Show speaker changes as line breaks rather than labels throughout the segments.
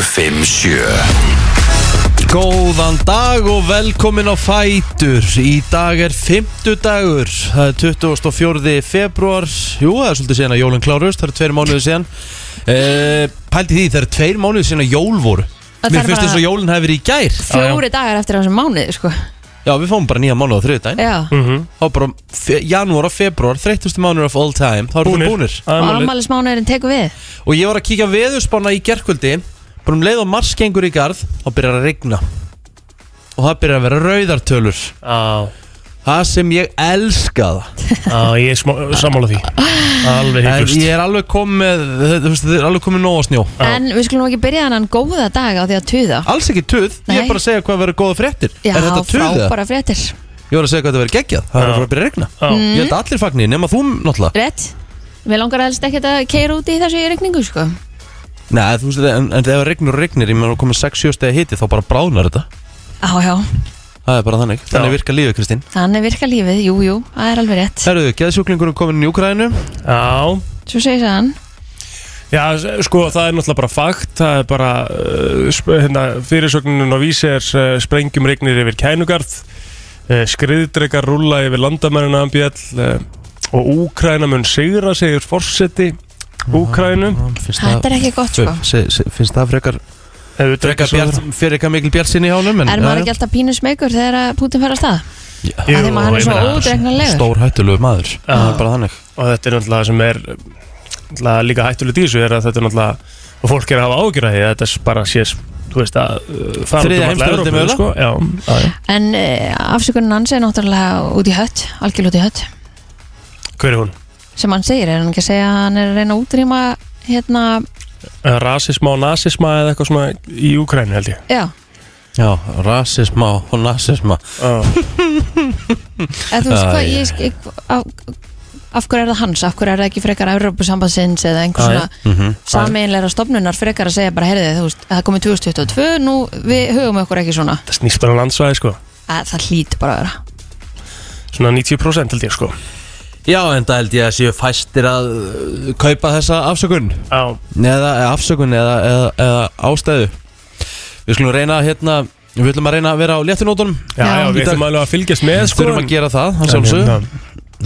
957
Góðan dag og velkomin á Fætur Í dag er 50 dagur Það er 24. februar Jú, það er svolítið síðan að jólun klárust Það eru tveir mánuði síðan uh, Pældi því, það eru tveir mánuði síðan að jól voru
Það
Mér
þarf
finnst
bara-
eins og jólun hefur verið í gær
Fjóri dagar eftir þessum mánuði, sko
Já, við fáum bara nýja mánuði á þriðdæn
Já,
Mhm.
Þá bara fe- janúar og februar, 30. mánuður of all time Þá eru
Búnir.
við búnir
Það er
og
málið.
afmælismánuðurinn tekur við
Og ég var að kíkja á veðurspána í gerkvöldi Bara um leið og mars gengur í garð Þá byrjar að rigna Og það byrjar að vera rauðartölur
Á,
Það sem ég elska það
á, ég er smá- sammála því Alveg
En
hygglust
ég er alveg komið, þú veist, þið er alveg komið nóg á snjó
Já.
En við skulum ekki byrja þannan góða dag á því að tuða
Alls ekki tuð, ég
Nei.
er bara að segja hvað verður góða fréttir
Já,
Er þetta tuð eða?
frábæra fréttir
Ég var að segja hvað þetta verður geggjað, það er
Já.
bara að byrja að regna
Já.
Mm.
Ég held að allir fagnir, nema þú náttúrulega
Rétt Mér langar helst ekkert að keira út í þessu í regningu, sko
Nei, þú veist, en, en ef regnur og regnir, ég meðan að komið 6-7 stegi hiti þá bara bráðnar þetta
Já, já,
Það er bara þannig, þannig
Já.
virka lífið Kristín
þannig virka lífið, jú, jú, það er alveg rétt
Herruðu, geðsjúklingurinn komin í Júkraðinu
Já,
Svo segir hann
já, s- sko það er náttúrulega bara fakt Það er bara uh, sp- hérna, fyrirsögnin og vísi er uh, sprengjum regnir yfir kænugarð uh, skriðdrekar rúla yfir landamærinu ambjall uh, og Úkræna mun sigra segir forseti Úkrænu
Þetta er ekki gott, sko
Finnst það frekar, frekar bjart, frekar mikil bjart sinni hjá honum
Er maður ekki alltaf pínu smegur þegar að Pútin fer að stað?
Jú,
Af því maður er
ég
svo
meina,
ódregnanlegur
Stór hættulegu maður, það er bara þannig
og þetta er náttúrulega sem er náttúrulega líka hættulegt í þessu er að þetta er náttúrulega og fólk er að hafa ágjur að því að þetta s- bara sé þú veist að uh, fara
Þriðja
út um alla
heimsstyrjöldin
Evrópu,
mögulega?
sko. já, já, já.
En uh, afsökunin hans er náttúrulega út í hött, algjörl út í hött
hver er hún?
sem hann segir, er hann ekki að segja að hann er að reyna að útrýma hérna,
Eh, rasisma og nazisma eða eitthvað svona í Ukrænu held ég
já
Já, rasisma og nasisma
já,
eða þú veist
Æ,
hvað,
æ,
ég skik af, af hverju er það hans, af hverju er það ekki frekar Európusambansins eða einhver
Æ,
svona
Mhm.
sameinleira stofnunar frekar að segja bara heyrðu þú veist, það komið 2022, nú við hugum okkur ekki svona,
það snýst bara um landsvæði sko
að, það hlýt bara að vera
svona 90% held ég sko
Já, en það held ég að séu fæstir að uh, kaupa þessa afsökun
já,
eða eða afsökun eða, eða, eða ástæðu Við skulum reyna að hérna Við ætlum að reyna að vera á léttunótunum
já, já,
Í
við
dag-
ætlum alveg að fylgjast með
Við
sko
þurfum að gera það, hann
en-
sjálfsög
en,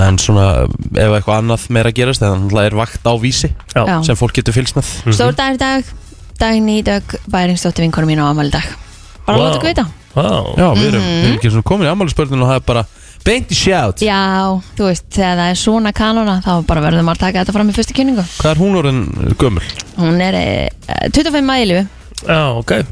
En svona, ef eitthvað annað meira gerist Þannig að er vakt á vísi
já, Mhm. já.
Já.
sem fólk getur fylgst með
stór dagur í dag, daginn í dag væringsdóttir vinkonu mín á ammali dag bara
Vá.
wow. láta ekki vita,
Vá.
Já, við erum, við erum ekki svona komin í afmælisbörnun og það er bara beint í sjátt
já, þú veist þegar það er svona kanona, þá bara verðum að taka þetta fram í fyrstu kynningu,
Hvað er hún orðin gömul?
hún er eh, 25 mælu,
já, ok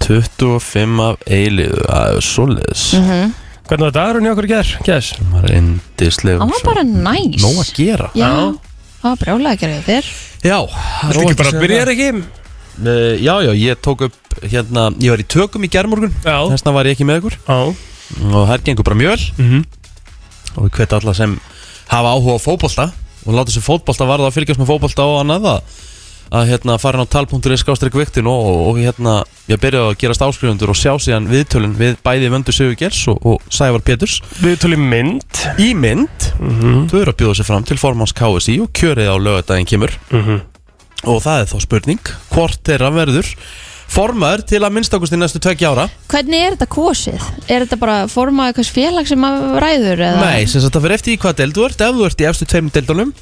25 af eiliðu, það er svoleiðis mm
Mhm. hvernig var dagurinn hjá okkur í gerð? Yes.
-hmm. var indislega
hann var bara næs
Nó að gera
já,
Já.
það var brjálega að gera þér
Já,
Þetta ekki bara byrjar ekki?
Uh, já, já, ég tók upp hérna, ég var í tökum í gerðmorgun
Já,
Þessna var ég ekki með ykkur
já.
Og það er gengur bara mjöl
Mhm.
Og við hvet alla sem hafa áhuga á fótbolta Og láta sér fótbolta varða að fylgjast með fótbolta og annað að, að hérna fara inn á tal.is skástrík viktin og, og, og hérna Ég byrjaði að gerast áskrifundur og sjá síðan viðtölin Við bæði vöndu Sigur Gels og, og Sævar Péturs
Við tölum mynd
Í mynd,
Mhm.
þau eru að bjóða sér fram til formans KSI Og kjörið á lögadaginn kemur
Mhm.
Og það er þá spurning Hvort þeirra verður formaður til að minnstakusti næstu tveggja ára
Hvernig er þetta kosið? Er þetta bara formað eitthvað félag sem maður ræður? Eða?
Nei, sem sagt það fyrir eftir í hvað deild þú ert Ef þú ert í efstu tveimur deildunum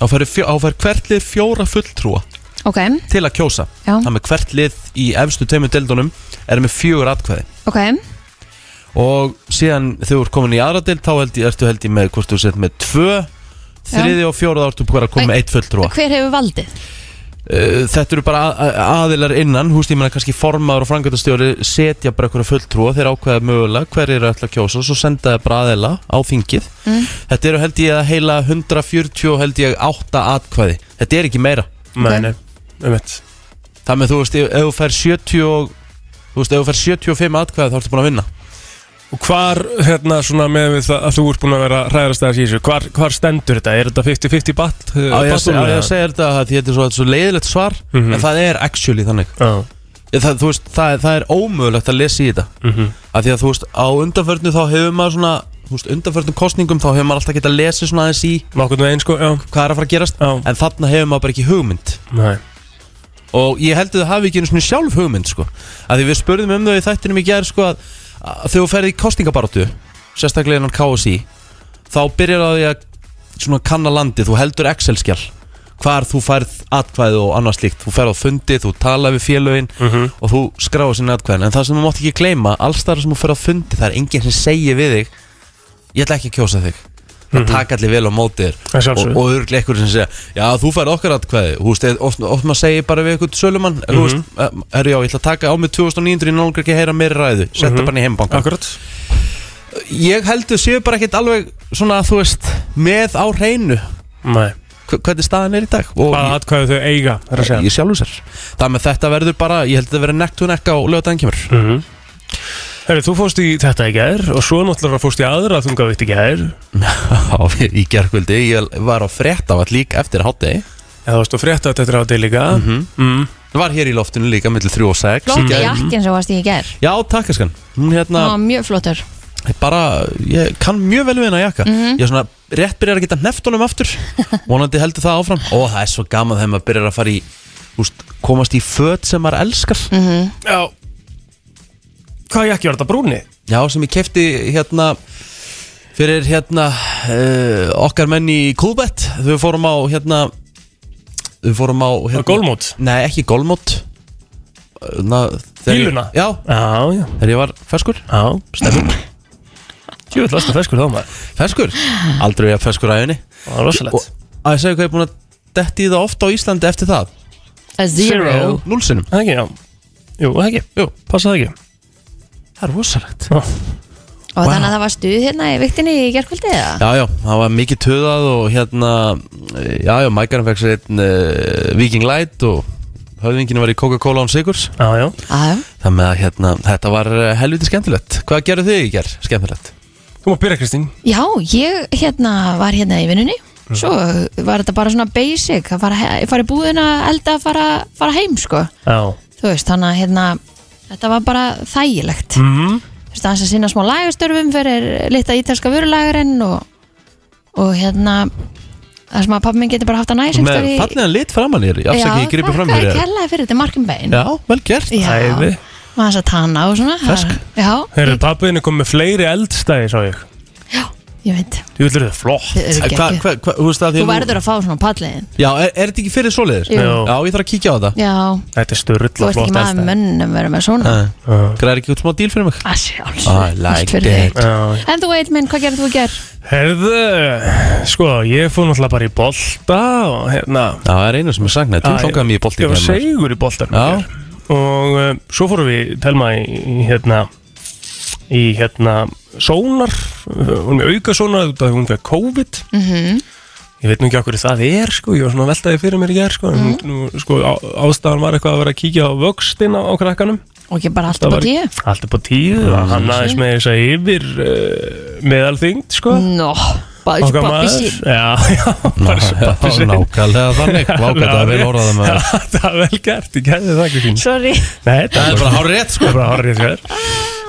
Þá fær hvert lið fjóra fulltrúa
Ok,
til að kjósa
Já.
Það með hvert lið í efstu tveimur deildunum er með fjögur atkvæði
ok,
Og síðan þegar þú ert komin í aðra deild Þá held ég, ertu held ég með hvort þú sett með tvö Þriði og fjóra þá ertu búin að koma með eitt fulltrúa
hver hefur valdið?
Uh, Þetta eru bara að- að- aðilar innan Húst ég meina kannski formaður og frangöndastjóri setja bara einhverja fulltrúa þeir ákveða mögulega hver eru ætla að kjósa og svo senda þeir bara aðila á þingið Þetta eru held ég að heila 140 og held ég 8 atkvæði Þetta er ekki meira
Nei, nei, um eitt
Það með þú veist ef, ef þú fær 70 og, þú veist ef þú fær 75 atkvæði þá ertu búin að vinna
Og hvar, hérna, svona með við það að þú ert búin að vera hræðast aðeins í þessu Hvar, hvar stendur þetta? Er þetta eh, 50-50 batt?
Á ég að, á ég að segja þetta að því þetta er svo, þetta er svo leiðilegt svar
Mhm.
en það er actually þannig
Já,
það, þú veist, það, er- það er ómögulegt að lesa í þetta af því að þú veist, á undanförnu þá hefur maður svona, þú veist, undanförnum kostningum þá hefur maður alltaf getað að lesa svona aðeins í
nokkurn veginn, sko, já
hvað er að fara að gerast,
Já.
en þarna hefur maður bara ekki hugmynd
Nei
og ég held að þau hafi ekki einu svona sjálf hugmynd sko. að því við spurðum um þau í þættinum í gerð sko, að, að þegar þú ferði í kostingabaratu sérstaklega innan KSI þá byrjar á því að svona kanna landi, þú heldur Excel-skjál hvar þú færð atkvæði og annað slíkt þú ferð á fundi, þú tala við félögin og þú skráður sinni atkvæðin en það sem þú mátt ekki gleyma, alls þar sem þú ferð á fundi það er enginn sem segir við þig ég ætla ekki að kjósa þig það taka allir vel á móti
Að
þér og,
sjálfsögðu.
og örglega ykkur sem segja já, þú færð okkar atkvæði þú veist, eða oft, oft maður segir bara við ykkur sölumann mm
Mhm.
-hmm. herru já, ég ætla að taka á mig 2900 ég nálgur ekki að heyra meira ræðu setja
Mhm.
bara hann í heimbanka
Akkurat
ég heldur séu bara ekkert alveg svona, þú veist, með á hreinu
Nei
hv- hvernig staðan er í dag og
Hvaða atkvæðu þau eiga Það er að segja
ég sjálfur sér það með þetta verður bara, ég held að þetta verður nekt og nekka á lögadaginn kemur
mm Herri, þú fórst í þetta í gær og svo náttúrulega fórst í aðra þungavitt í gær
á, í gerkvöldi, ég var á frétta var líka eftir hátegi
Já, þú varst að frétta þetta eftir átti líka
Mhm.
mm.
var hér í loftinu líka millir 3 og 6 í
Flott
gær.
jakkin sem varst í í gær
já, takkaskan hún hérna,
Það var mjög flottur
bara, ég kann mjög vel við hennar jakka ég er svona, rétt byrjar að geta hneft honum aftur vonandi heldur það áfram og það er svo gaman þegar maður byrjar að fara í úst, komast í föt sem maður elskar
Já Hvað jakki var þetta brúni?
já, sem ég kefti hérna fyrir hérna uh, okkar menn í Coolbet þau fórum á hérna þau fórum á
Hérna.
hérna,
Gólmót
nei, ekki gólmót Eh, na, þegar ég-
Píluna?
já,
Já, já,
þegar ég var ferskur
já, stefnum Jú, þetta varst að feskur þá maður
ferskur, aldrei að ferskur aðeinni
Það var
og
rosalegt
að ég segja hvað ég er búin að detti í það ofta á Íslandi eftir það
A
Zero.
zero
núlsinnum,
Það ekki, já Jú, það ekki, jú, passa það ekki
það er rosalegt
Já.
Og
Wow.
þannig að það var stuð hérna í viktinni í gerkvöldi eða?
já, já, það var mikið töðað og hérna, eh, já, já, mækarinn fekk sér einn uh, Viking Light og höfðinginu var í Coca-Cola án Sigurs
Já, já
Já,
þannig að hérna, þetta var eh, helviti skemmtilegt hvað gerðu þið í gerð, skemmtilegt?
Þú má byrja Kristín
já, ég hérna var hérna í vinnunni Svo var þetta bara svona basic að fara, he- fara í búðina, elda, fara, fara heim sko
Já
Þú veist, þannig að hérna Þetta var bara þægilegt
mm.
Þú veist, aðeins að sinna smá lagastörfum fyrir litla ítalska vörulagarinn og, og hérna það sem að pappi minn getur bara haft að næs einhvers
með
staðar í-
fallegan lit framan í þér, ég afsaki ég gripi fram í
Já, þakka
þér
kærlega fyrir þetta markumbegin
já, vel gert
Æði
Og þess að tanna og svona
Fersk.
Já,
Herru, pappiðinu kom með fleiri eldstæði, sá ég
ég veit
Jú, þetta er flott
Þið eru
Eh, Hva,
geggjuð.
hva, hva, þú veist að því
Þú
nú-
verður að fá svona palliðin
Já, er, er þetta ekki fyrir svoleiðis?
Jú.
Já, ég þarf að kíkja á þetta
Já,
Þetta er
þú
störðla
ert ekki
flott
maður
eldstæði
mönnum verður með svona
Nei.
Já.
Græðir ekki út smá díl fyrir mig?
Að sjálfs
I like
Allt fyrir
that.
þig.
Já.
En þú veit minn, hvað gerðu þú ger?
Herðu, sko, ég fór náttúrulega bara í bolta og hérna
Já, það er einu sem er saknað,
Já,
þú langaði mjög í bolti
Ég var
maður.
segur í boltanum
Já.
hér. Og uh, svo fórum við Telma í, í hérna Í hérna Sónar uh, Hún er auka sónar Það hún fekk COVID Ég veit nú ekki okkur það er sko Ég var svona veltaði fyrir mér í gerð sko, mm. nú, sko á, Ástæðan var eitthvað að vera að kíkja á vöxtin á, á krakkanum
Og ekki bara allt
Það
upp á
var-
tíu
Allt upp á tíu mm. Hann aðeins með þess að yfir uh, Meðalþyngd sko
Nó, bara
Okkar
pappi Mm.
maður.
sín
Já, já, bara svo
Já,
pappi sín
nákvæmlega þannig Vákvæmt að það er vel orðað með það
Það er vel gert, ég gæði það ekki sín
Sorry
Nei, þetta
Það er bara hár rétt sko
Það er bara horrið þér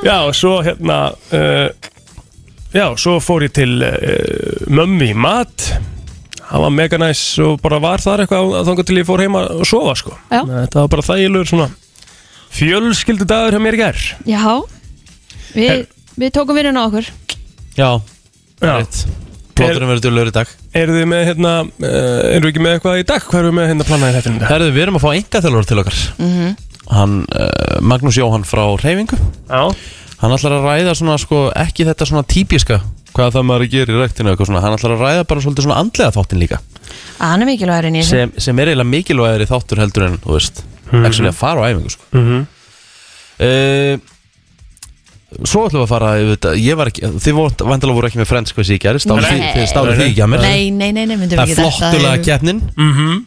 Já, og svo hérna uh, Já, svo fór ég til uh, mömmi í mat Það var mega næs og bara var þar eitthvað að þanga til ég fór heima og sofa sko
Já.
Þetta var bara þægilegur svona Fjölskyldu dagur hjá mér í gær
Já,
Her-
við, við tókum vinnuna á okkur
Já,
Já,
rétt Plóturinn verður dölur í dag
eru þið með hérna uh, Eru ekki með eitthvað í dag? Hvað eru við með hérna planaði þetta um þetta?
Herðu, við erum að fá enga þjálfur til okkar Hann, uh, Magnús Jóhann frá Reyfingu
Já,
Hann ætlar að ræða svona sko Ekki þetta svona típiska Hvað það maður gerir í ræktinu og eitthvað svona Hann ætlar að ræða bara svolítið svona andlega þáttin líka
Að Ah, hann er mikilvægur inn í þessu
sem, sem er eiginlega mikilvægari þáttur heldur en Þú veist,
Mhm.
actually að fara á æfingu sko.
Mhm.
Eh, Svo ætlum við að fara yfir þetta. Ég var ekki, þið vandalega voru ekki með Friends hvað ég gerist
Nei.
Þið stálu því ekki að mér
Nei, nei, nei, nei, myndum
Það
við
er
ekki þetta
flottulega keppnin
Mhm.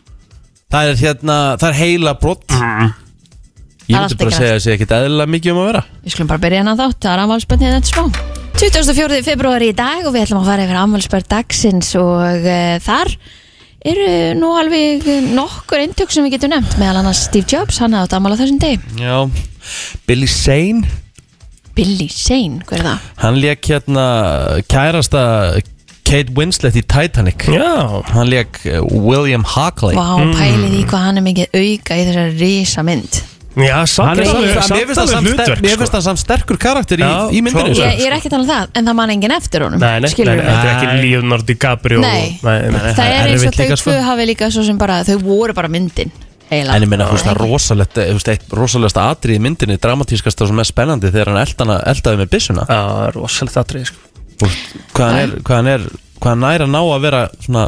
Það er hérna, það er heila brott Ég
Mhm. Það er
myndi
allt
bara
ekki
að segja að sé ekkit eðlilega mikið um að vera
Við skulum bara byrja hennar þátt, það er afmálsbörnið þetta smá. 24. februari í dag og við ætlum að fara yfir afmálsbörn dagsins og uh, þar eru nú alveg nokkur eintök sem við getum nefnt, meðal annars Steve Jobs, hann hafði átt afmála þessum degi.
Já Billy Zane,
Billy Zane, hver er það?
hann lék hérna kærasta K Kate Winslet í Titanic
Já,
Hann leik eh, William Hockley
Vá, pælið í hvað hann er mikið auka í þessari risa mynd
já, samt
Hann er
alveg-
samt-
samt
Mér finnst það
alveg
samt ster-
hlutverk,
mér
sko.
finnst það samt sterkur karakter í,
Já,
í myndinni
klárlega.
sko.
ég, ég er ekki að tala um það, en það man enginn eftir honum
Nei, nei, nei,
skilurðu
nei,
mig?
þetta er ekki
Nei.
Leonardo DiCaprio
Nei.
nei, nei,
það
er
er eins og
erfitt líka,
þau
sko.
tvö hafi líka svo sem bara, þau voru bara myndin eiginlega.
En ég minna, þú veist, það er rosalegt þú veist, eitt rosalegasta atrið í myndinni dramatískast og sem er spennandi þegar hann eldana, eldaði með byssuna
Já, það er rosalegt atrið sko.
Þú veist, hvað hann er, hvað hann er hvað hann nær að ná að vera svona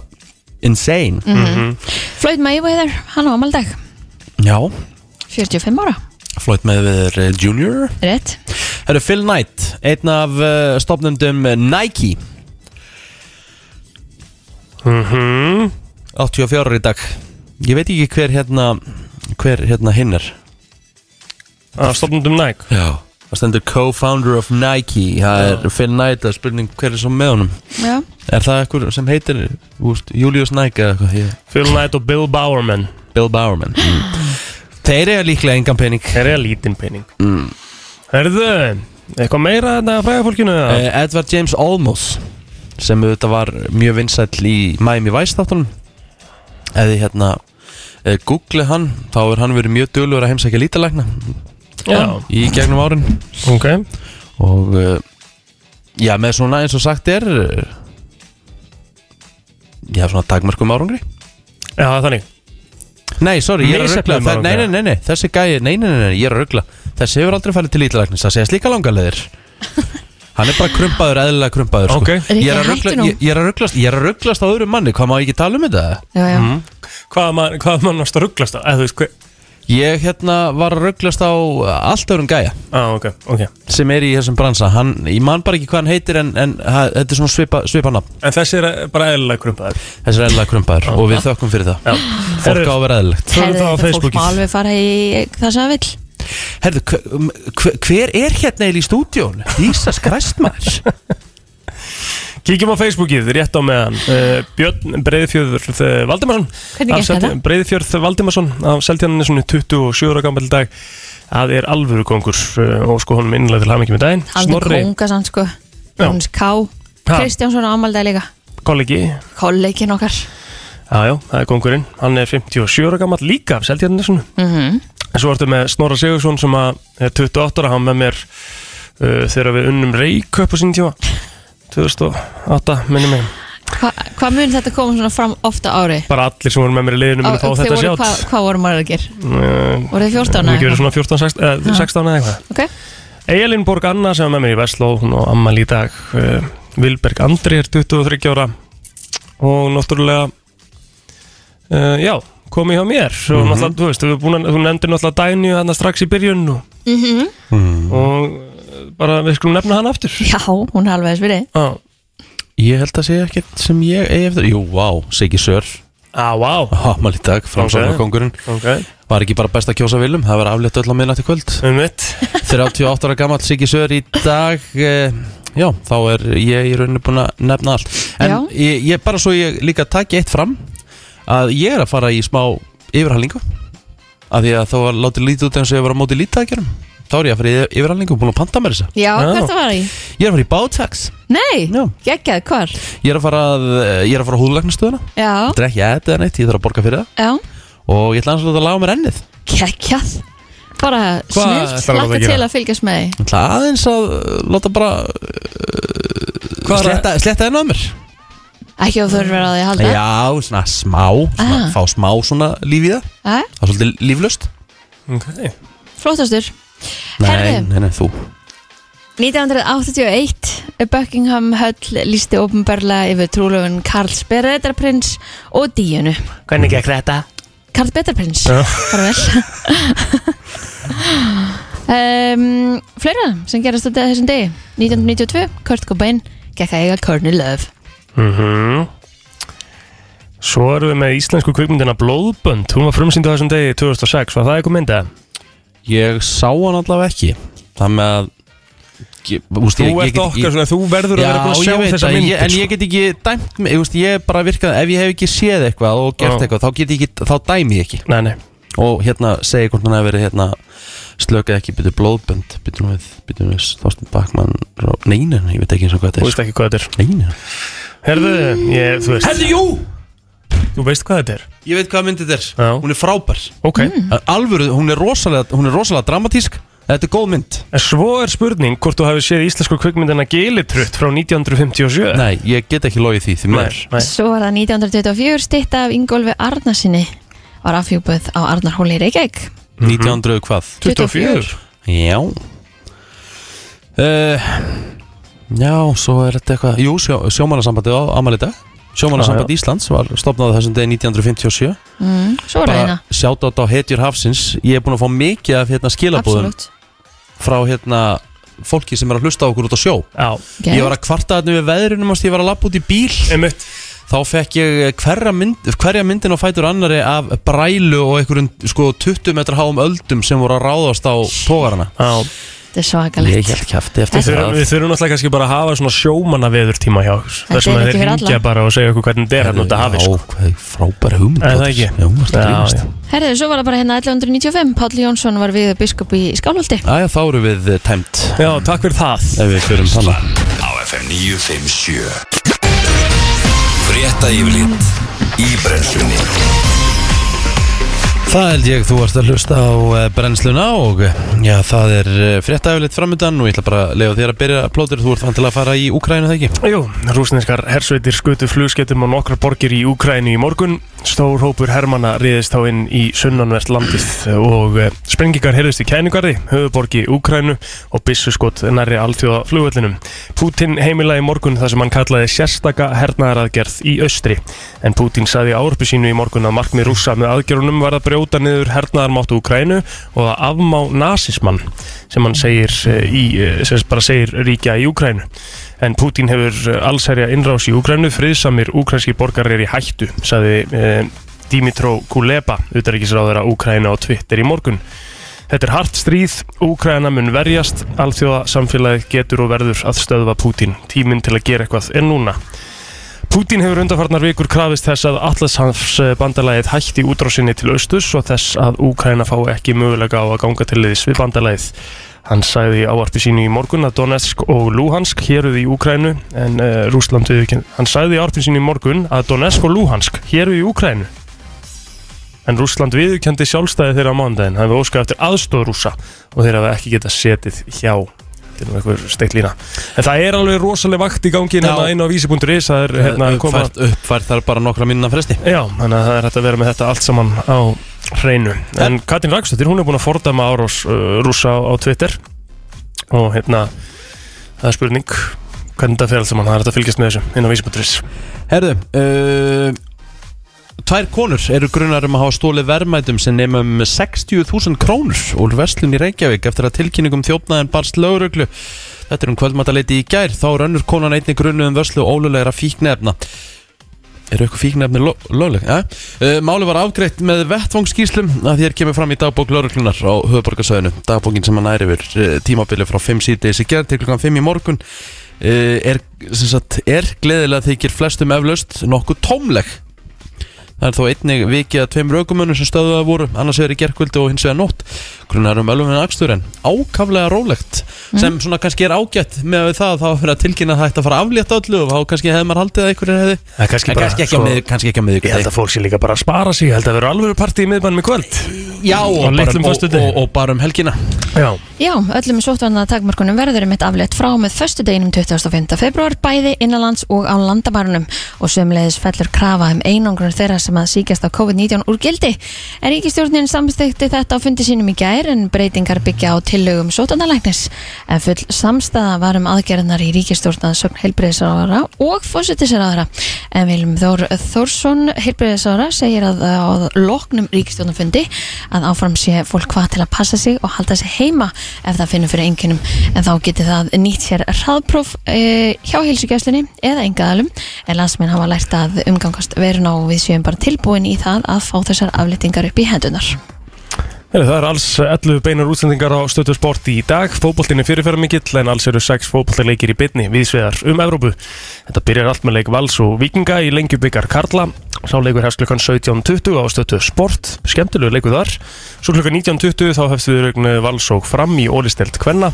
insane
Mm. Floyd Mayweather, hann á amaldag
Já,
45 ára,
Floyd Mayweather eh, Jr.
rétt
Herru, Phil Knight, einn af uh, stopnendum Nike
mm -hmm.
84 ára í dag Ég veit ekki hver hérna hver hérna hinn er
Stofnundum Nike
Já Það stendur co-founder of Nike Það er Phil Knight, það er spurning hver er svo með honum
Já.
Er það ekkur sem heitir úst, Julius Nike eða eitthvað Ég-
Phil Knight og Bill Bowerman
Bill Bowerman mm. Þeir eru líklega engan pening
Þeir eru lítinn pening mm. Herðu, eitthvað meira þetta fræða fólkinu eða?
uh, Edward James Olmos sem auðvitað var mjög vinsæll í Miami Vice þáttunum eða hérna uh, googlið hann, þá er hann verið mjög dölur að heimsækja lítalækna
Já,
í gegnum árin
ok
og uh, já, með svona eins og sagt er eh, já, svona dagmarkum árangri
Já, þannig
Nei, sorry, ég er að ruggla
Misheppnuðum
Þe- nei,
árangri.
nei, nei, nei, þessi gæi, nei, nei, nei, nei, ég er að ruggla Þessi hefur aldrei farið til lítalæknis, það segja slíka langarleðir Hann er bara krumpaður, eðlilega krumpaður sko.
Ok.
ég, er
Rikki,
að rugla,
hættu nú.
ég, ég er að rugglast Ég er að rugglast á öðrum manni, hvað má ég ekki tala um þetta?
Já, já.
Mhm. Hvað mann hvað man varst að rugglast á? Eða þú veist hver
Ég hérna var að rugglast á eh, allt öðrum gæja
Á, Ah, ok, ok
sem er í þessum bransa hann, Ég man bara ekki hvað hann heitir en, en ha, þetta er svona svipa, svipa nafn
En þessi er bara eðlilega krumpaður
Þessi er eðlilega krumpaður og við þökkum fyrir það
Já
Fólk á að vera eðlilegt
Förum
Herðu,
þá á
þetta fólk
Facebookið.
má alveg fara í það sem það vill
Herðu, hver, um, hver, hver er hérna eiginlega í stúdíón? Dísas Krestmaður
Kíkjum á Facebookið, rétt á meðan uh, Björn Breiðfjörð uh, Valdimarsson
Hvernig gekk þetta?
Breiðfjörð Valdimarsson af Seltjarninni 27 ára gammal dag Það er alvöru kongur uh, og sko honum innlega til hamingi með daginn
Alveg konga sann sko
Já.
Jóns K.
Ha.
Kristjánsson á amaldag líka
kollegi
Kollegin okkar
Já, já, það er kongurinn, hann er 57 ára gammal líka af Seltjarninni
mm
En svo ertu með Snorra Sigursson sem að er 28 ára, hann með mér uh, þegar við unnum reiköp á sín tíma 2008, minni mig
Hva, Hvað mun þetta koma svona fram ofta ári?
Bara allir sem voru með mér í liðinu munu
Á-
fá
þau
þetta
voru-
sjátt
Hvað hvað voru maður að gera?
Uh,
Voru þið 14
Ekki verið
eða?
svona 14, 16, eh, 16 eða eitthvað
Ok,
Eilin Borg Anna sem er með mér í Vestló hún og Ammal í dag uh, Vilberg Andri er 23 ára og náttúrulega uh, já, komið hjá mér og náttúrulega, þú veist, þú, búin, þú nefndir náttúrulega Dæni hann strax í byrjun og,
Mhm.
Hmm.
og eh, bara við skulum nefna hann aftur
já, hún er alveg þess verið
Á,
Ég held að segja ekkert sem ég eigi eftir Jú, vá, Siggi Sör
á, á
Hámal í dag, framsóknarkongurinn
Ah, ok,
Var ekki bara best að kjósa viljum, það var aflétt öll á miðnætti kvöld
um mitt
38 ára gammal Siggi Sör í dag eh, Já, þá er ég í rauninu búin að nefna allt
Já.
En ég, ég bara svo ég líka taki eitt fram að ég er að fara í smá yfirhalningu af því að þá var látið lítið út eins og ég var á móti lítækjunum þá er ég að fara í yfirhalningu og búin að panta mér þessa
Já,
Já.
hvert það var í?
Ég er að fara í bátax
Nei,
Já.
geggjað, hvar?
Ég er að fara, að, eh, ég er að fara á húðlagnarstöðuna
Já,
Þetta er ekki aðeins eða neitt, ég þarf að borga fyrir það
já,
og ég ætla aðeins að láta laga mér ennið
geggjað Bara snillt,
ætlarðu að
lakka
gera?
til að fylgjast með því
Ég ætla aðeins að uh, láta bara eh,
Hvað er
sletta, sletta ennið á mér
Ekki ef þú þurfur að því að halda
Já, svona smá, svona,
Ah.
fá smá svona líf í það
Æ,
Það er svolítið líflöst
okay.
Flótastur
Nei,
Herðu.
nei, nei, þú
1981 eh, Buckingham Höll lísti ofnbarlega yfir trúlöfun Karls Beretarprins og Díunu
Hvernig gekk þetta?
Karl Betarprins
Já.
bara vel um, Fleira sem gerast þetta þessum degi 1992, Kurt Cobain gekk að eiga Courtney Love
Mm Svo erum við með íslensku kvikmyndina Blóðbönd, hún var frumsýnd á þessum degi 2006, var það eitthvað mynda?
Ég sá hann allavega ekki Það með að ég, úst,
Þú ert okkar svona, þú verður að vera búin
Já, ég
að sjá
veit
þessa
það,
myndir
ég, en ég
sko.
get ekki dæmt mig, ég, veist, ég er bara virkað, ef ég hef ekki séð eitthvað og gert
Já.
eitthvað, þá get ég ekki, þá dæmi ég ekki
Nei, nei,
og hérna segi hvort hann hefur verið hérna slökað ekki, byrju blóðbönd byrju nú við, byrju nú við, Þorsten Bakman Ró- nei, nei, nei, ég veit ekki eins og hvað
þú
þetta
veist ekki hvað þetta er
er Nei, nei,
Herðu, ég, þú veist,
Herðu, jú!
þú veist hvað þetta er
Ég veit hvað myndið er,
Já.
hún er frábær
Ok,
Alvöru, hún er rosalega, hún er rosalega dramatísk Þetta er góð mynd
en svo er spurning hvort þú hafi séð íslensku kvikmyndina Gilitrutt frá 1957
Nei, ég get ekki logið því því mér
nei
Svo var það 1924 stitta af Ingólfi Arnarsinni var afhjúpuð á Arnarhóli í Reykjavík
1900 hvað?
24
Mhm. Já uh, Já, svo er þetta eitthvað Jú, sjó, sjómannasambandi á Amalí dag Sjómannasamband Íslands var stopnað þessum degi 1957
mm, Svo var það
Bara
hérna
sjátt átt á hetjur hafsins Ég er búin að fá mikið af hérna, skilabúðum
Absolutt
frá hérna fólki sem er að hlusta á okkur út á sjó
Já,
Ég var að kvarta þarna við veðrunum ást ég var að lappa út í bíl
einmitt
þá fekk ég hverja, mynd, hverja myndin og fætur annari af brælu og einhverjum sko 20 metra háum öldum sem voru að ráðast á tógarana
Já,
Þetta er
Ég
svakalegt
held kæfti eftir
Við þurfum,
það
við þurfum náttúrulega kannski bara að hafa svona sjómanna veður tíma hjá okkur
Þetta
Það sem
er ekki
að þeir
fyrir alla.
ringja bara og segja okkur hvernig þetta er hann út að hafi sko.
hvað er frábær hugmynd
Er það
Þórdís.
ekki?
Jú, það
Já,
grínast
já.
Herðu, svo var það bara hérna 1195 Páll Jónsson var við biskup í Skálholti
Æja, þá eru við eh, tæmt
Já, takk fyrir það
ef við fyrum þannig
á FM 957 Frétta yfirlit í brennslunni
Það held ég þú varst að hlusta á eh, brennsluna og eh, já, það er fréttæfilegt framöndan og ég ætla bara að leiða þér að byrja plótur þú ert vantilega að fara í Úkrænu þegar ekki
Jú, rúsneskar hersveitir skutu flugskettum á nokkra borgir í Úkrænu í morgun. Stór hópur hermana riðist þá inn í sunnanvert landið og eh, sprengingar heyrðist í kæningarði, höfuborgi Úkrænu og byssuskot nærri alþjóða flugvöllunum. Putin heimilaði í morgun það sem hann kallaði sérstaka hernaðaraðgerð í austri. En Putin saði í áruppi sínu í morgun að markmið rúsa með aðgerunum var að brjóta niður hernaðarmáttu Úkrænu og að afmá nasismann sem hann segir, eh, í, eh, sem sagt bara segir ríkja í Úkrænu en Pútín hefur eh, allsherja innrás í Úkrænu, friðsamir úkrænski borgar er í hættu, saði eh, Dimitró Kuleba, utaríkisráðara Úkræna á Twitter í morgun. Þetta er hart stríð, Úkræna mun verjast, alþjóða samfélagið getur og verður að stöðva Pútín. Tíminn til að gera eitthvað er núna. Pútín hefur undarfarnar vikur krafist þess að Allashanfs bandalagið hætti útrásinni til austus og þess að Úkræna fá ekki mögulega á að ganga til liðs við bandalagið. Hann sagði í ávarpi sínu í morgun að Donetsk og Luhansk héruð í Úkrænu en uh, Rúsland viðurkenndi hann sagði í ávarpi sínu í morgun að Donetsk og Luhansk héruð í Úkrænu en Rúsland viðurkendi sjálfstæði þeirra á mándaginn hann hefði óskað eftir aðstóð rúsa og þeir hafa ekki getað setið hjá þetta er nú einhver steikt lína en það er alveg rosaleg vakt í gangi
Já.
hérna inn á vísi.is það er hérna koma
Eh, uppfært, uppfært þar bara nokkra mínuna fresti
Já, þannig að það er hægt að vera með þetta allt saman á hreinu. En Katrín Ragstóttir, hún er búin að fordama árás uh, rúsa á, á Twitter og hérna, það er spurning hvernig þetta fer allt saman, það er hægt að fylgjast með þessu inn á vísbútturis.
Herðu uh, Tvær konur eru grunar um að hafa stólið verðmætum sem nema um 60.000 krónur úr verslun í Reykjavík eftir að tilkynningum þjófnaðin barst lögreglu Þetta er um kvöldmataleiti í gær þá er önnur konan einni grunu um vörslu ólulegra fíknefna Eru eitthvað fíknefni lo- lögleg? Ja? Uh, máli var afgreitt með vettvangskíslum að þér kemur fram í dagbók lauruglunar á höfuborgarsöðinu. Dagbókin sem hann æri yfir uh, tímabili frá 5 síðdeis í gerð til klukkan 5 í morgun uh, er, sem sagt, er gleðilega þykir flestum eflaust nokkuð tómleg. Það er þó einnig vikið að tveim raukumönnum sem stöðuða voru, annars vegar í gerkvöldu og hins vegar nótt. Grunar um ölfumina akstur en ákaflega rólegt sem svona kannski er ágætt með við það að það var fyrir að tilkynna að það ætti að fara að aflétta öllu og þá kannski hefði maður haldið að einhverjir hefði
Það er kannski
En
bara...
kannski ekki,
svo-
svo, kannski ekki að miðvík
Ég held að fólk sé líka bara að spara sig, ég held að vera alveg partí í miðbænum í kvöld.
Já, og,
Á
bara,
litlum
og,
föstudegi.
og, og bara um helgina
Já.
Já, öllum sóttvarnar takmarkunum verður mitt aflétt frá og með föstudeginum 25. februar bæði innanlands og á landamærunum og sömulegis fellur krafa um einangrun þeirra sem að síkjast á COVID-19 úr gildi. En ríkistjórnin samstekti þetta á fundi sínum í gær en breytingar byggja á tillögum sóttvarnalæknis. En full samstæða var um aðgerðnar í ríkistjórnan sögn heilbreyðisráðara og fósittisráðara. En Viljum Þór Þórsson heilbreyðisráðara segir að á loknum ríkistjórnafundi að áfram sé fólk hvað til að passa sig og halda sig heima ef það finnur fyrir enginum en þá geti það nýtt sér hraðpróf e, hjá heilsugjæslinni eða engaðalum en landsmenn hafa lært að umgangast veruna og við séum bara tilbúin í það að fá þessar aflýtingar upp í hendunar
Heru, það er alls 11 beinar útsendingar á stöðu sport í dag. Fótboltin er fyrirferðar mikill en alls eru 6 fótboltileikir í bytni viðsvegar um Evrópu. Þetta byrjar allt með leik Vals og Víkinga í lengjubikar Karla Sá leikur hefst klukkan 17.20 á stöttu Sport, skemmtilegu leikur þar. Svo klukkan 19.20 þá hefst við raugn vals og fram í Ólistelt Kvenna.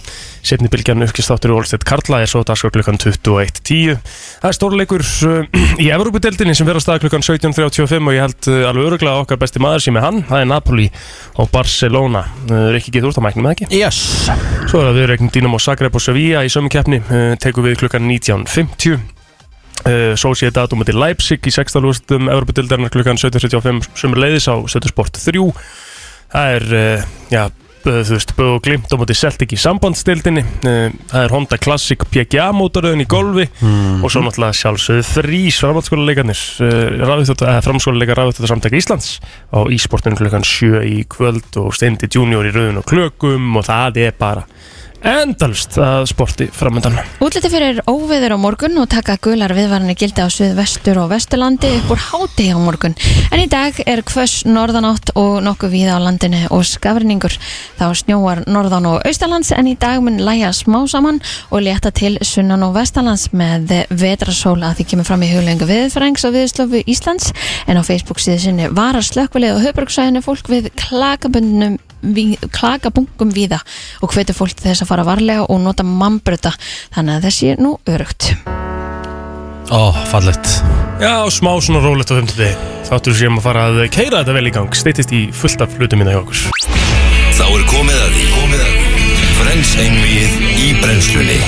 Setni bylgjan uppkistáttur í Ólistelt Karla er svo dagskrá klukkan 21.10. Það er stórleikur uh, í Evrópudeldinni sem verður að staða klukkan 17.35 og ég held uh, alveg öruglega að okkar besti maður sem er hann. Það er Napoli og Barcelona. Uh, Rikki getur úr það mæknum eða ekki?
Yes
Svo er það viðreiknum Dinamo Zagreb og Sevilla í sömu keppni uh, tekur við klukkan 19.50 uh, Svo sé þetta aðdóma til Leipzig í 16. úrstum Evropadildarnar klukkan 17.35 sem er leiðis á Sötursport 3 Það er, uh, já, böð, þú veist, böð og glimt á móti Celtic í sambandsdildinni uh, Það er Honda Classic PGA mótaröðin í golfi
Hmm. Mhm.
og svo náttúrulega sjálfsögðu þrýs framhaldsskóla leikarnir uh, framskóla leikar rafið samtaka Íslands á ísportinu klukkan 7 í kvöld og steindi junior í rauðin og klökum og það er bara endalst að sporti framöndan
Útliti fyrir óveður á morgun og taka gular viðvarnir gildi á suðvestur og vesturlandi upp úr hádegi á morgun. En í dag er hvöss norðanátt og nokkuð víða á landinu og skafriningur. Þá snjóar norðan og austalands en í dag mun læja smá saman og létta til sunnan og vestalands með vetrasól að því kemur fram í huglengu viðfrængs og viðslofu Íslands en á Facebook síðu sinni varar slökkvilið og höfbruksæðinu fólk við klakabundnum við, klakabungum víða og hvetur fólk til þess að fara varlega og nota mannbröta þannig að þessi er nú örugt
Ó, fallegt
Já, smá svona rólegt á þeim til þig Þáttur séum að fara að keira þetta vel í gang Steytist í fullt af hlutum minna hjá okkur
Þá er komið að því komið að því. Frens einvið í brennslunni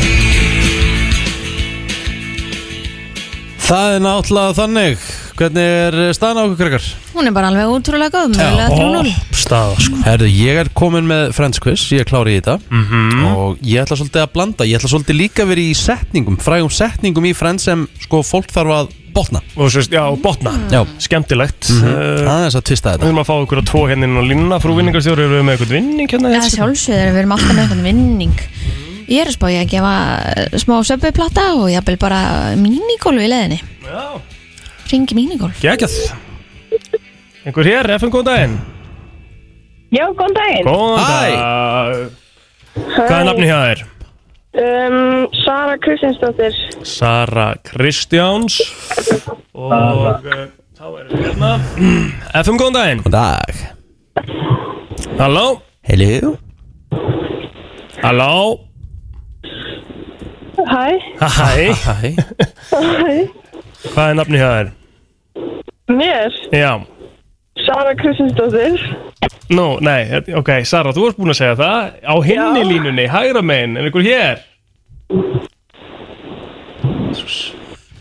Það er náttúrulega þannig Hvernig er staðan á okkur krakkar?
hún er bara alveg útrúlega góð mögulega 3-0
Staða sko
Herðu, ég er komin með Friends Quiz, ég er klári í þetta og ég ætla svolítið að blanda ég ætla svolítið líka verið í setningum frægum setningum í Friends sem sko fólk þarf að botna
Og svo, já, botna
Já. Mhm.
Skemmtilegt
Það
uh,
er þess að tvista
Við
þetta
erum að fá okkur að tvo hérna inn á línuna Frú
Mhm.
vinningarstjóri, eru við með eitthvað vinning hérna?
eða sjálfsögður, við erum alltaf með einhvern vinning ég er að spá ég að gefa eh, smá söpbyplata og ég vil bara mínigolf í leðinni
Já,
ringi mínigolf
geggjað Einhver hér, FM, góðan daginn
Já, góðan daginn.
Góðan
Hæ.
dag Hvað er nafni hjá þér?
Um, Sara Kristinsdóttir.
Sara Kristjáns Og uh, þá erum við hérna FM, góðan daginn
Góðan dag
Halló,
Hello
halló
Hæ,
Hæ,
Hæ
hvað er nafni hjá þér?
mér.
Já,
Sara Kristinsdóttir.
nú, nei, eh, ok, Sara, þú varst búin að segja það Á hinni
Já.
línunni, hægra megin, er einhver hér?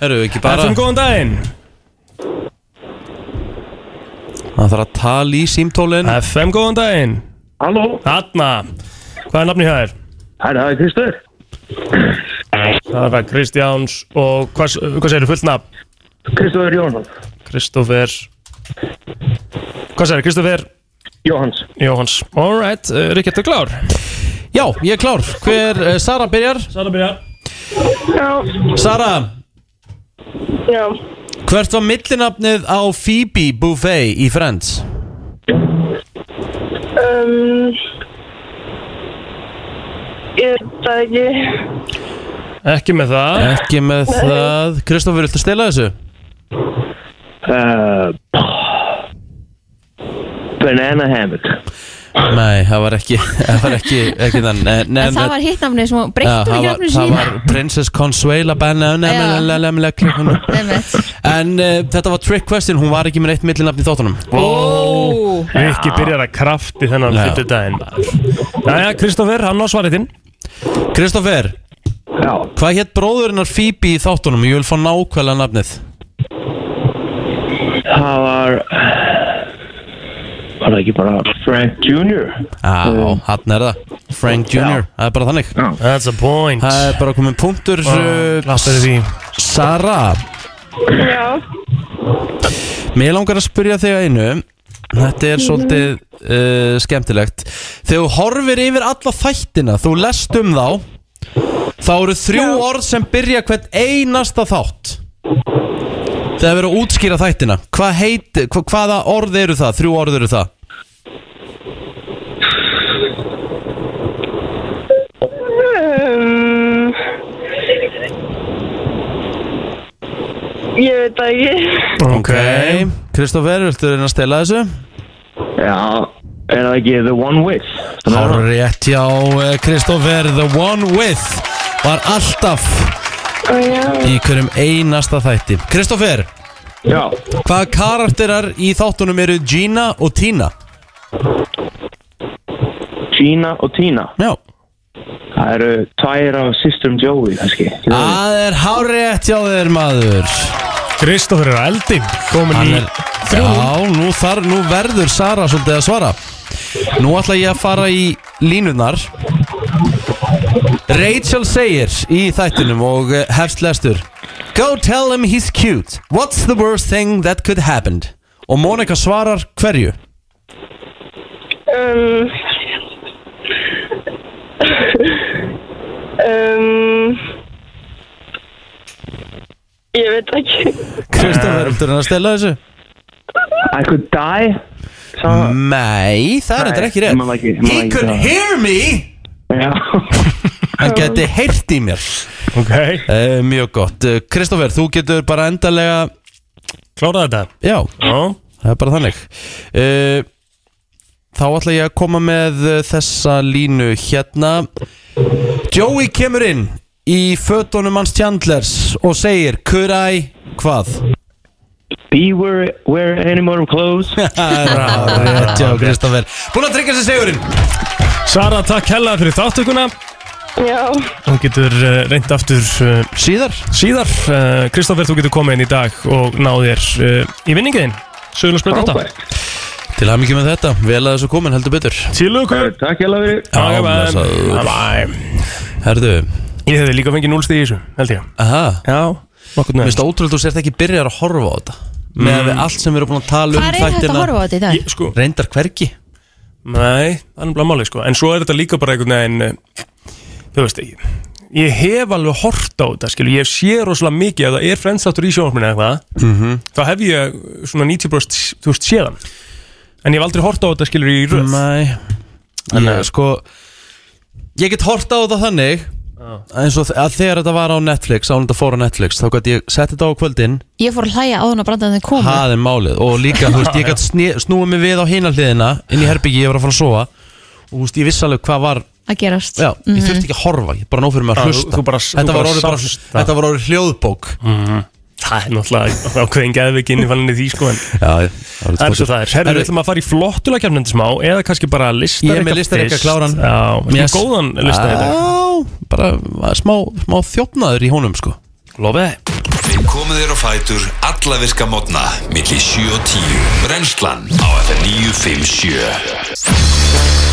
Herru, ekki bara
FM, góðan daginn
Það þarf að tala í símtólin
FM, góðan daginn
Halló,
Hanna, hvað er nafni hjá þér?
hæ, það er Kristur.
Sara Kristjáns og hvað, hvað segir þú fullt nafn?
Kristóður Jónsson.
Kristófer Hvað segir Kristófer
Jóhanns.
Jóhans? Alright, uh, Ríkjart er klár
Já, ég er klár Hver, uh, Sara byrjar
Sara byrja
Já,
Sara,
já.
hvert var millinafnið á Phoebe Buffet í Friends?
Um, ég veit það ekki.
Ekki með það
Ekki með það Kristoffer, viltu stela þessu?
Uh, banana hammock.
Nei, það var ekki Það var ekki, ekki þann Nei, nei,
en það var hittnafni sem hún
Já,
breyttu
það
ekki
var,
nafnu
það
sína
var Princess Consuela
Já.
Banana
Einmitt.
En uh, þetta var trick question Hún var ekki með neitt millinafn í þáttunum
Ó, Rikki byrjar að krafti þennan
Já.
fyrir daginn Jæja, Kristófer, hann á svaritinn
Kristoffer,
Já,
hvað hétt bróðurinnar Phoebe í þáttunum? Ég vil fá nákvæmlega nafnið
það var... Var það ekki bara Frank Jr.?
Á, hann er það Frank Jr. Það er bara þannig
That's a point
Það er bara komin punktur uh,
Láttu því
Sara,
Já,
mér langar að spyrja þig að einu Þetta er svolítið uh, skemmtilegt Þegar þú horfir yfir alla þættina Þú lest um þá Þá eru þrjú orð sem byrja hvern einasta þátt Þegar verður að útskýra þættina Hvað heit, hva, Hvaða orð eru það? Þrjú orð eru það
um, ég veit það ekki.
Ok
Kristoffer, viltu reyna að stela þessu?
Já, er það ekki The One With?
Hárétt hjá eh, Kristoffer The One With Var alltaf
Já,
í hverjum einasta þætti Kristoffer,
Já,
hvaða karakterar í þáttunum eru Gina og Tina?
Gina og Tina.
Já
Það eru tvær af systrum Joey, kannski.
Það er hárétt hjá þér maður
Kristoffer er að eldi Komin í
Hann er Já, nú, þar, nú verður Sara svolítið að svara Nú ætla ég að fara í línunar Rachel segir í þættinum og eh, hefst lestur Go tell him he's cute What's the worst thing that could happen? Og Monika svarar hverju?
um, um, ég veit það ekki.
Kristoffer, viltu hann að stela þessu?
I could die. Sá
Mm.
það?
Nei, það er
Nei,
þetta ekki
maður ekki-
rétt
maður
He
ekki
could
það.
hear me
Já.
Hann geti heyrt í mér
Ok
Eh, Mjög gott Eh, Kristoffer, þú getur bara endalega
Klára þetta
Já,
Já
Það er bara þannig uh, Þá ætla ég að koma með uh, þessa línu hérna Joey kemur inn í fötunum hans Chandlers og segir Could I hvað?
Be where, wear any more clothes.
Rétt hjá Kristoffer Búin að tryggja sér segurinn
Sara, takk hella fyrir þáttökuna
Já,
Hún getur uh, reynd aftur uh,
Síðar
síðar Eh, Kristoffer, þú getur komið inn í dag og náð þér uh, í vinningiðin Sögulega spurt þetta
Frábært.
Til að mikið með þetta, vel að þessu komin heldur betur
Til lukku
Takk hjá fyrir.
blessaður.
Ég
Herðu,
hefði líka fengið núlstíð í þessu, held ég
aha
Já, nokkur
Mér
með
finnst ótrúlega þú sért ekki byrjar að horfa á þetta með mm. allt sem við erum búin að tala um
Hvað er hægt að horfa á þetta í dag?
Ég- Sko,
Reyndar hvergi
Nei, það er nefnilega málið sko En svo er þetta líka bara einhvern veginn eh, Þú veist ekki Ég hef alveg hort á þetta skilu Ég sé rosalega mikið að það er frendstáttur í sjónvarpinu eða eitthvað Þá hef ég svona 90% þú veist séðan En ég hef aldrei hort á þetta skilur í röð
Nei En ég, sko Ég get horta á það þannig eins og þ- að þegar þetta var á Netflix án þetta fór á Netflix þá gæti ég sett þetta á kvöldin
Ég fór að hlæja á hún að branda þannig koma
það er málið og líka þú veist ég gæti sné- snúið mig við á hina hliðina inn í herbyggi ég var að fara að sofa og þú veist ég vissi alveg hvað var
að gerast Mm,
já, ég þurfti ekki að horfa ég bara nóg fyrir mig að
Já, þú-
hlusta
þú bara- þú
þetta, var
bara
orðið bara,
sást það.
þetta var orðið hljóðbók mm.
Það er náttúrulega ákveðin geðveik inn í fanninni því sko En
já,
það er svo það er Herru, við ætlum að fara í flottula kemnendi smá Eða kannski bara listar
Ég er með listareikka kláran.
Já, yes. góðan listar þetta
já, bara var smá, smá þjófnaður í honum sko
Lofið
Við komum þér á fætur alla virka mótna milli 7 og 10 Brennslan á FM 957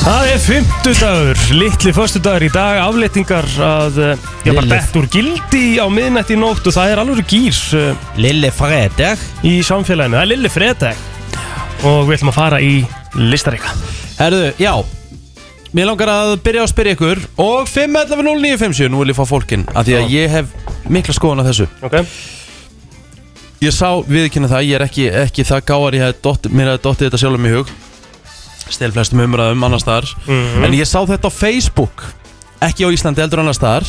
Það er fymtudagur, litli föstudagur í dag, afleitingar að eh, ég bara
Lilli.
dett úr gildi á miðnætti í nótt og það er alveg gýr eh,
Lille Fredag
í samfélaginu, það er lilli fredag og við ætlum að fara í listareika.
Herðu, já Mér langar að byrja að spyrja ykkur Og 5.11.09.57, nú vil ég fá fólkin Af því að ég hef mikla skoðan af þessu
Ok.
Ég sá viðkynna það, ég er ekki, ekki það gáar Ég hef dott, mér hef dottið þetta sjálfum í hug Stel flestum umræðum annars þar
Mhm.
En ég sá þetta á Facebook Ekki á Íslandi, eldur annars þar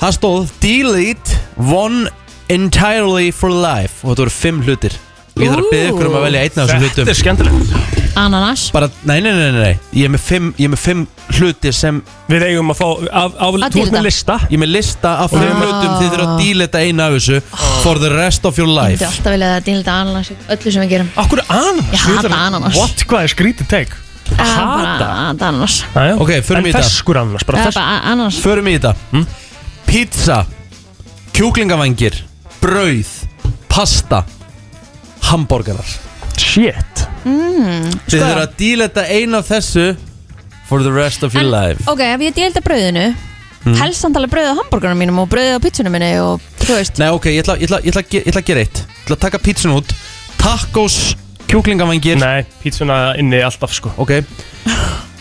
Það stóð Delete one entirely for life Og þetta voru fimm hlutir Og ég þarf að byrja ykkur um að velja einn af þessum hlutum
Þetta er skemmtilegt.
Ananas
bara, nei, nei, nei, nei, nei. Ég, er með fimm, ég er með fimm hluti sem
Við eigum að fá, af, af,
Að
þú ert
dýrða.
með lista.
ég er með lista af fimm
Ah.
hlutum þið þurfa að díla þetta eina af þessu for the rest of your
Ég myndi
life
alltaf vilja að dýlda ananas í öllu sem við gerum
Akkur er ananas?
Ég
Við
hata
þarfum-
ananas.
What, hvað er skrítið teg?
Ég er bara að Ananas
Aja.
Ok, förum í
en
þetta.
feskur ananas, bara
Það er
feskur.
bara ananas
förum í þetta Hm? pizza, kjúklingavangir brauð, pasta hamborgarar Sko-
Shit.
þið þurfa að díla þetta eina af þessu for the rest of your life
Ok, ef ég dýlda brauðinu
Hmm.
Helst hann tala brauðið á hambúrgarnum mínum og brauðið á pizzunum minni og þú veist
nei, ok, ég ætla, ég ætla, ég ætla, að ge- ég ætla að gera eitt ég ætla að taka pizzan út tacos, kjúklingavangir
Nei, pítsuna inni alltaf sko,
ok,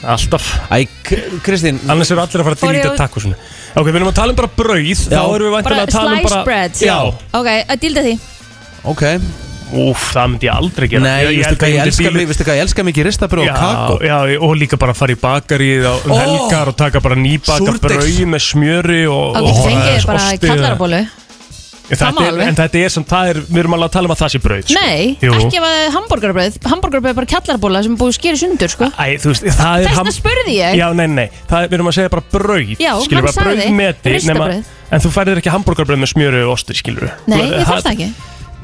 alltaf.
æ, K- Kristín
Annars eru allir að fara að
Fór ég út-
dýlita takkosinu Ok, við erum að tala um bara brauð Þá
Já.
erum við væntanlega
Bara
að tala um
slice
bara
bread
Já,
Ok, að dýlda því
ok
Úf, það myndi ég aldrei gera
Nei,
ég,
veistu hvað ég
myndi
elska
bílinn-
mikið Veistu hvað ég elska mikið ristabröð
já,
og kakó
já, og líka bara fara í bakarið á um
Ó!
helgar og taka bara nýbaka
Súrdeigs.
brauð með smjöri og,
Þá
og
getur fengið bara
osti.
kallarabólu
En þetta
sama
er,
alveg.
En þetta er sem það er, við erum alveg að tala um að það sé brauð sko.
Nei,
Jú.
ekki ef að hambúrgarbröð Hambúrgarbröð er bara kallarabóla sem er búið að skýra sundur sko.
Æ, þú veist, það er
Þess
ham-
vegna spurði ég
Já, nei, nei, það er, við erum að segja bara brauð
Já, hann
skilur, bara brauð
sagði
meti,
ristabrauð.
En þú færðir ekki hambúrgarbrauð með smjöri og osti, skilur
Nei, ég þarf það ekki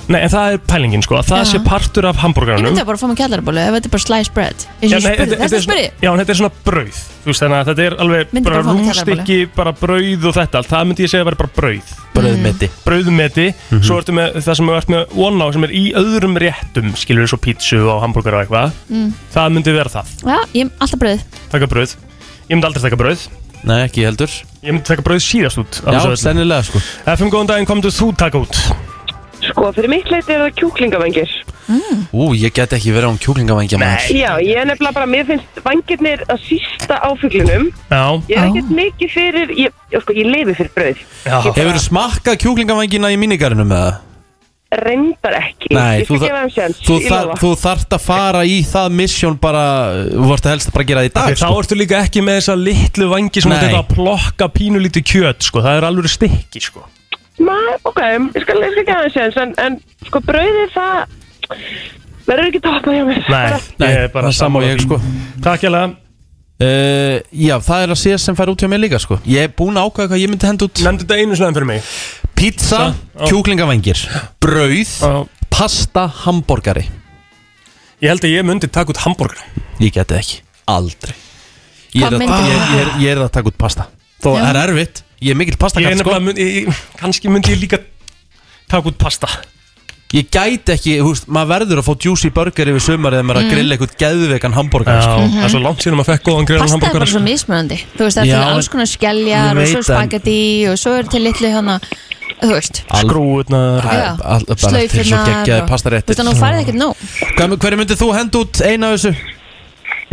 Nei, en það er pælingin, sko, að það
Já.
sé partur af
Ég
hambúrgarnum
myndi að bara fá mig kallarabólu ef þetta er bara slice bread Eins
Já,
og ég
nei,
spurði,
þetta-
þess
þetta
að
er
spurði
svona- Já, en þetta er svona brauð Þú veist, þannig að þetta er alveg
Myndi
bara
bara fá mig
rúmstykki, bara brauð og þetta allt. Það myndi ég segja að vera bara brauð
Bröðmeti
brauðmeti, svo ertu með það sem ertu með one á sem er í öðrum réttum skilur svo pítsu og hambúrgar og eitthvað
Mm.
það myndi vera það,
Já, ég alltaf bröð
taka brauð ég myndi aldrei taka brauð,
Nei, ekki heldur
ég myndi taka brauð síðast út af
Já,
þessu öllu.
sennilega sko
FM, góðan daginn, komdu þú taka út
Sko, fyrir mitt leiti er það kjúklingavengir.
Ú, ég get ekki verið án kjúklingavangja maður
Já, ég er nefnilega bara, mér finnst vangirnir að sísta á fuglinum.
já,
Ég er ekkert mikið fyrir, ég, já, sko, ég leiði fyrir brauð.
já,
Hefur smakkað kjúklingavangina í minigarinu með það?
Reyndar ekki.
Nei,
ég skal
þar-
gefa þeim sjans,
þú,
ég
þar,
lofa.
þú þarft að fara í það misjón bara, þú varst að helst að bara gera það í dag
Þá
sko.
ertu líka ekki með þessa litlu vangi sem
Nei.
þetta að plokka pínulítið kjöt sko. það er alveg stykki sko.
Nei, ok, ég skal, ég skal gefa þeim sjans, en, en sko, brauðið það verður ekki toppað hjá mér.
Nei,
Nei,
ég er bara
það er sama og
sammála
ég,
því.
sko.
Takk hérlega,
uh, Já, það er að síðast sem fær út hjá mér líka sko. Ég er búin að ákvæða hvað ég myndi henda út
nefndu þetta einu snöðum fyrir mig
Pizza,
Sa- á.
kjúklingavangir Brauð,
Á.
pasta, hambúrgari
Ég held að ég myndi taka út hambúrgar
Ég geti ekki, aldrei Ég er,
Hvað
að,
myndir þú
ég, ég, er, ég er að taka út pasta Þó
Já.
það er erfitt, ég er mikill
Ég er
pastakall sko.
nefnilega, mynd, ég, ég- kannski myndi ég líka taka út pasta
Ég gæti ekki, þú veist, maður verður að fá juicy burger yfir sumar eða maður er að grilla eitthvað geðveikan hambúrgar sko.
það er sko. svo langt síðan maður fekk góðan greiðan
Pasta er
hambúrgar
bara svo mismunandi Þú veist, það er
Já,
til alls
en-
konar skelljar
Ég
og svo
veit en-
spagetti og svo er til litlu hana Þú veist,
Skrúurnar
Það er
Já,
all- bara til svo
slaufinnar
geggjaðir
og-
pastaréttir.
Þú veist, þannig að þú farið ekkert nóg
Hvað- Hverju myndið þú henda út eina af þessu?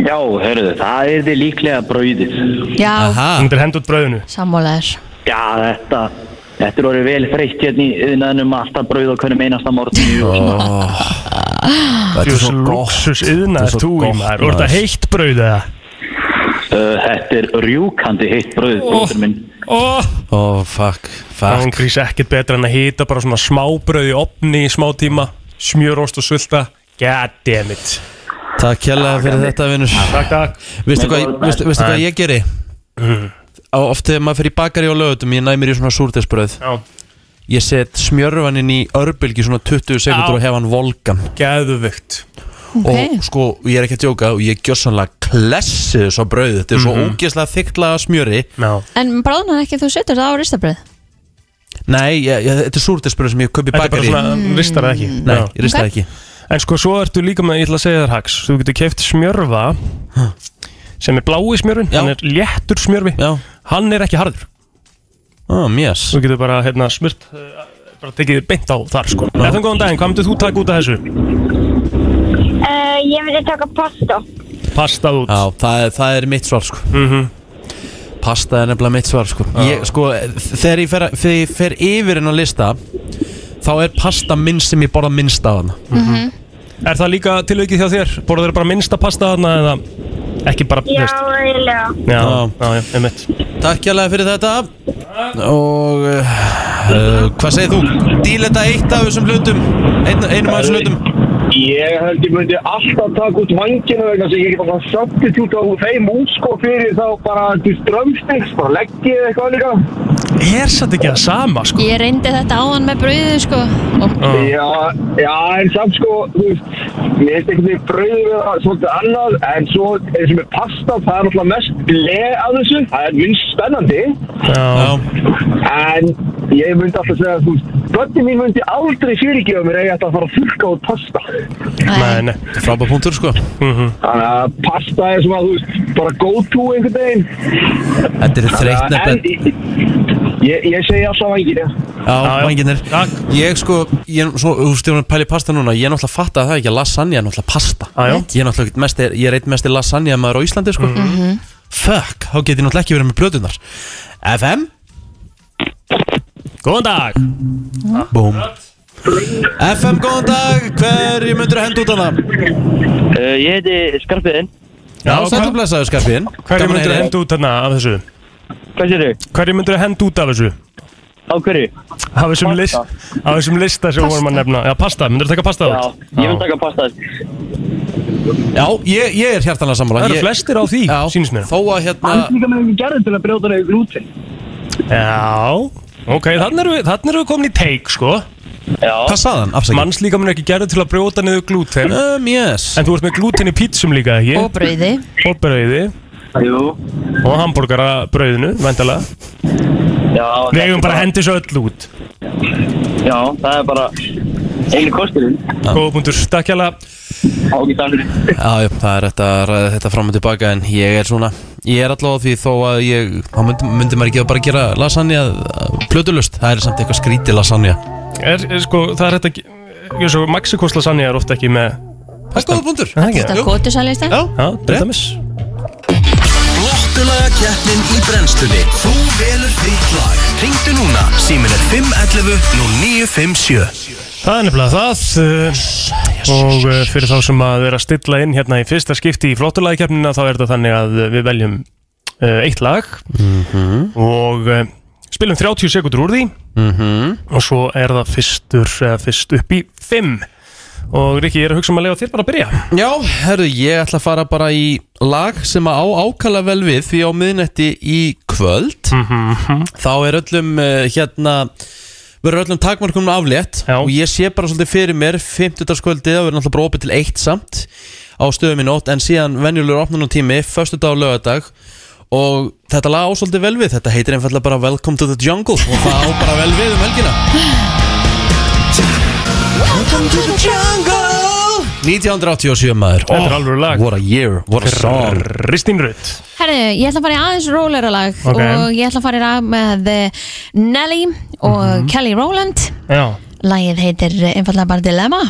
Já, hörðu, það er þið líklega brauðið.
Já,
Aha.
Þú myndir henda út brauðinu
sammálaður
Já, þetta, þetta er orðið vel þreytt hérna í yðnaðinum alltaf brauð og hvernig einasta morgni og svona.
Þetta er
Jús
svo gott
luxus yðna
Þetta
er
er svo
þú í
gott,
maður Þú ert að
maður.
heitt brauð eða
Uh, þetta er rjúkandi heitt brauð, bróður minn.
Ó,
Ó, fuck,
Hún
fuck
grís ekkert betra en að hýta bara svona smábrauð í opni í smá tíma Smjörost og sulta God damn it
Takk hérlega fyrir þetta, vinnur
Takk, takk
Veistu hvað, veistu, veistu hvað ég geri? Á Oft þegar maður fyrir bakari og lögutum Ég næ mér í svona súrdesbröð
Já,
Ég set smjörvan inn í örbylgi svona 20 sekundur
Já.
og hef hann volgan
geðvögt
Ok.
Og sko, ég er ekki að djóka Og ég gjössanlega klessi þessu á brauð Þetta er svo ógeðslega þykla smjöri
Já
En bráðnar ekki þú setur það á ristabröð
Nei, ég, ég, þetta er súrdesbröð sem ég kaupi
Þetta er bara
bakari
svona, ristar það ekki
Nei,
Já.
ég rista
Ok.
okay. ekki
En sko, svo ertu líka með, ég ætla að segja þér hax Þú getur keft smjörfa sem er blái smjörfin,
Já.
hann er léttur smjörfi
Já,
hann er ekki harður
ó, mjöss
Þú getur bara, hérna, smurt uh, bara tekið þig beint á þar, sko no. Eftir góðan daginn, hvað myndir þú taka út af þessu?
Uh, ég myndi taka pasta.
Pastað út
Já, það er, það er mitt svar sko
Mhm.
Pasta er nefnilega mitt svar sko ég, Sko, þegar ég fer, að- þegar ég fer yfir en á lista Þá er pasta minnst sem ég borða minnst af hana
Er það líka tilvikið hjá þér? Borður þeir bara minnsta pasta þarna eða ekki bara, þú
Já,
veist
eiginlega.
Já,
Já.
já, já, einmitt
Takk hérlega fyrir þetta Og uh, Hvað segir þú? Díl þetta eitt af þessum hlutum Ein, Einum af þessum hlutum
Ég held ég myndi alltaf taka út vangina vegna sem ég get bara substitúta úr þeim út sko fyrir þá bara til strömstings, bara leggið eða eitthvað líka.
Er satt ekki það sama, sko?
Ég reyndi þetta áðan með brauðið sko og
Já,
Já, já, en samt sko, þú veist, mér finnst einhvern veginn brauðið vera svolítið annað en svo eins og með pasta, það er alltaf mest bleið af þessu, það er minnst spennandi
já.
Já,
en ég myndi alltaf segja, þú veist, börnin mín myndi aldrei fyrirgefa mér eða að fara að þurrka út pasta.
Nei, nei.
þetta er frábæð punktur sko
Þannig að pasta er svona, þú veist, bara go to einhvern veginn.
Þetta er þreytt
En
nefn
ég, ég segi alltaf vangir
Já,
já.
vanginir
Takk.
Ég sko, ég, svo, þú veist, ég var að pæla í pasta núna Ég er náttúrulega fatt að það er ekki að lasagna er náttúrulega pasta
Ah, Já, Mhm. já.
Ég er náttúrulega ekkert mest, ég er eitt mest í lasagna maður á Íslandi sko Fuck, þá get ég náttúrulega ekki verið með blöðunar FM,
Góðan dag
búm FM, góðan dag, hverju myndir að henda út hana?
Uh, ég heiti Skarpiðinn.
Já,
hvað-
sættu blessaður skarpiðin
Hverju myndir að henda út hana af þessu?
Hvað sér þau?
Hverju myndir að henda út af þessu?
Á hverju?
Af þessum, list, af þessum lista sem við vorum að nefna Já, pasta, myndir að taka pasta
Já,
út?
ég vil taka pasta.
Já, ég, ég er hjartanlega sammála
Það eru
Ég-
flestir á því,
Já,
sýnist mér
Þó að hérna
Líka með einhvern gerðin til að brjóta nefnir glútin.
Já, ok, þannig erum við, þarna erum við komin í teik, sko
Hvað sagði hann? Afsækja
Mannslíkamun er ekki gerður til að brjóta niður glúten
Um, yes
En þú ert með glúten í pítsum líka, ekki?
Og brauði
Og brauði
Jú.
Og hambúrgarabrauðinu, vendalega
Já,
Við eigum bara að hendi svo öll út
Já, það er bara einu kosturinn.
Góðbundur, stakkjala
Á ekki dagurinn.
Já, já, það er þetta að ræða þetta fram og tilbaka en ég er svona, ég er allavega á því þó að ég, þá myndi, myndi maður ekki að bara gera lasagna uh, plötulust, það er samt eitthvað skrítið lasagna
er, er, sko, Það er þetta ekki Svo Mexikos lasagna er ofta ekki með
Það er góða búndur
Það er ekki?
Þetta er kótusæli í stæð
Já,
Já, til dæmis
Flottulaga keppnin í brennstunni Þú velur þitt lag Ringdu núna, símin er 511 0957
Það er nefnilega það uh, Og uh, fyrir þá sem að vera að stilla inn hérna í fyrsta skipti í flottulæðikeppnina þá er þetta þannig að uh, við veljum uh, eitt lag og uh, spilum 30 sekundur úr því og svo er það fyrstur uh, fyrst upp í 5 og Rikki, ég er að hugsa um að lega þér bara að byrja
já, herru, ég ætla að fara bara í lag sem að á ákala vel við því á miðnætti í kvöld þá er öllum uh, hérna verður öllum takmarkunum aflétt
Já.
og ég sé bara svolítið fyrir mér 50. skvöldið að verður náttúrulega bara opið til eitt samt á stöðum í nótt en síðan venjulegur opnunum tími, förstu dag og lögadag og þetta lag á svolítið vel við þetta heitir einfallega bara Welcome to the Jungle og það á bara vel við um helgina Welcome to the Jungle 1987 maður Oh,
Þetta er alvöru lag.
What a year, what a song
Kristín Rutt
Herðu, ég ætla að fara í aðeins rólera lag
Ok.
og ég ætla að fara í lag með eh, Nelly og Kelly Rowland
Já,
Lagið heitir eh, einfallega bara Dilemma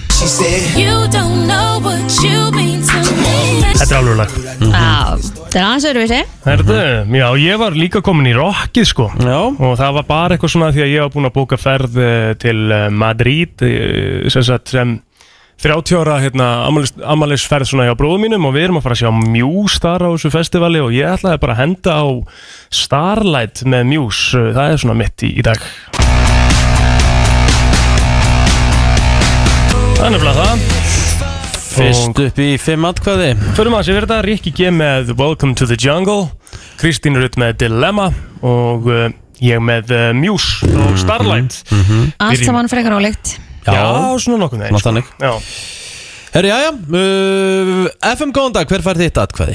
þetta er alveg lag
Já, Þetta er aðeins öðruvísi
Herðu, já, ég var líka komin í rockið sko
Já,
og það var bara eitthvað svona því að ég var búinn að bóka ferð eh, til eh, Madrid eh, sem, sagt, sem 30 ára hérna, amalisferð svona hjá bróðum mínum og við erum að fara að sjá Muse þar á þessu festivali og ég ætlaði bara að henda á Starlight með Muse eh, það er svona mitt í, í dag Það er nefnilega það
fyrst upp í fimm atkvæði
Förum að sér verða Rikki G með Welcome to the Jungle Kristín Rutt með Dilemma og uh, ég með uh, Muse
Mhm.
og Starlight
Allt
Byrjum.
saman frekar ólíkt
Já, svona nokkuð
Ná,
með
þannig.
Já,
Herri, jæja, uh, FM góðan dag, hver fær þitt atkvæði?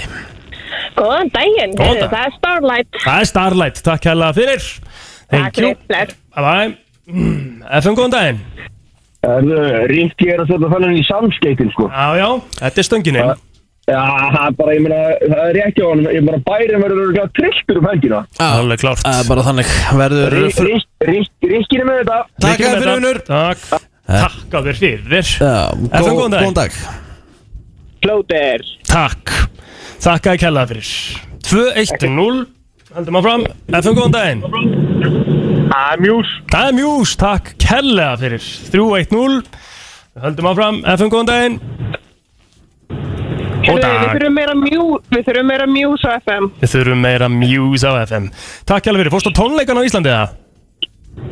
Góðan daginn,
Góðan
heyrðu,
dag.
það er Starlight
það er Starlight, takk hella fyrir Thank you,
Bless.
bye bye Mm, FM góðan daginn
Ríkki eh, er að setja þannig í samskeitin, sko.
Já, já, þetta er stöngin einn
Já, það er bara, ég meina, það er rétt hjá hann. Ég meina, bærin verður örugglega trilltur um helgina.
Alveg klárt
Uh, bara þannig, verður fr-
Ríkkin er með þetta.
Takk
Líkjum
að fyrir
þetta.
unur
Takk, takk að þér fyrir
Já,
FM góðan dag.
dag
Plóter.
Takk, takk að kella fyrir 2-1-0 Haldum áfram, FM góðan daginn
Það er mjús.
Það er Mjús, takk kellega fyrir 3-1-0 Við höldum áfram, FM góðan daginn Og
Heyrðu, Við
dag
þurfum meira mjú- við þurfum meira mjús á FM
Við þurfum meira Mjús á FM Takk kellega fyrir, fórstu á tónleikana á Íslandi eða?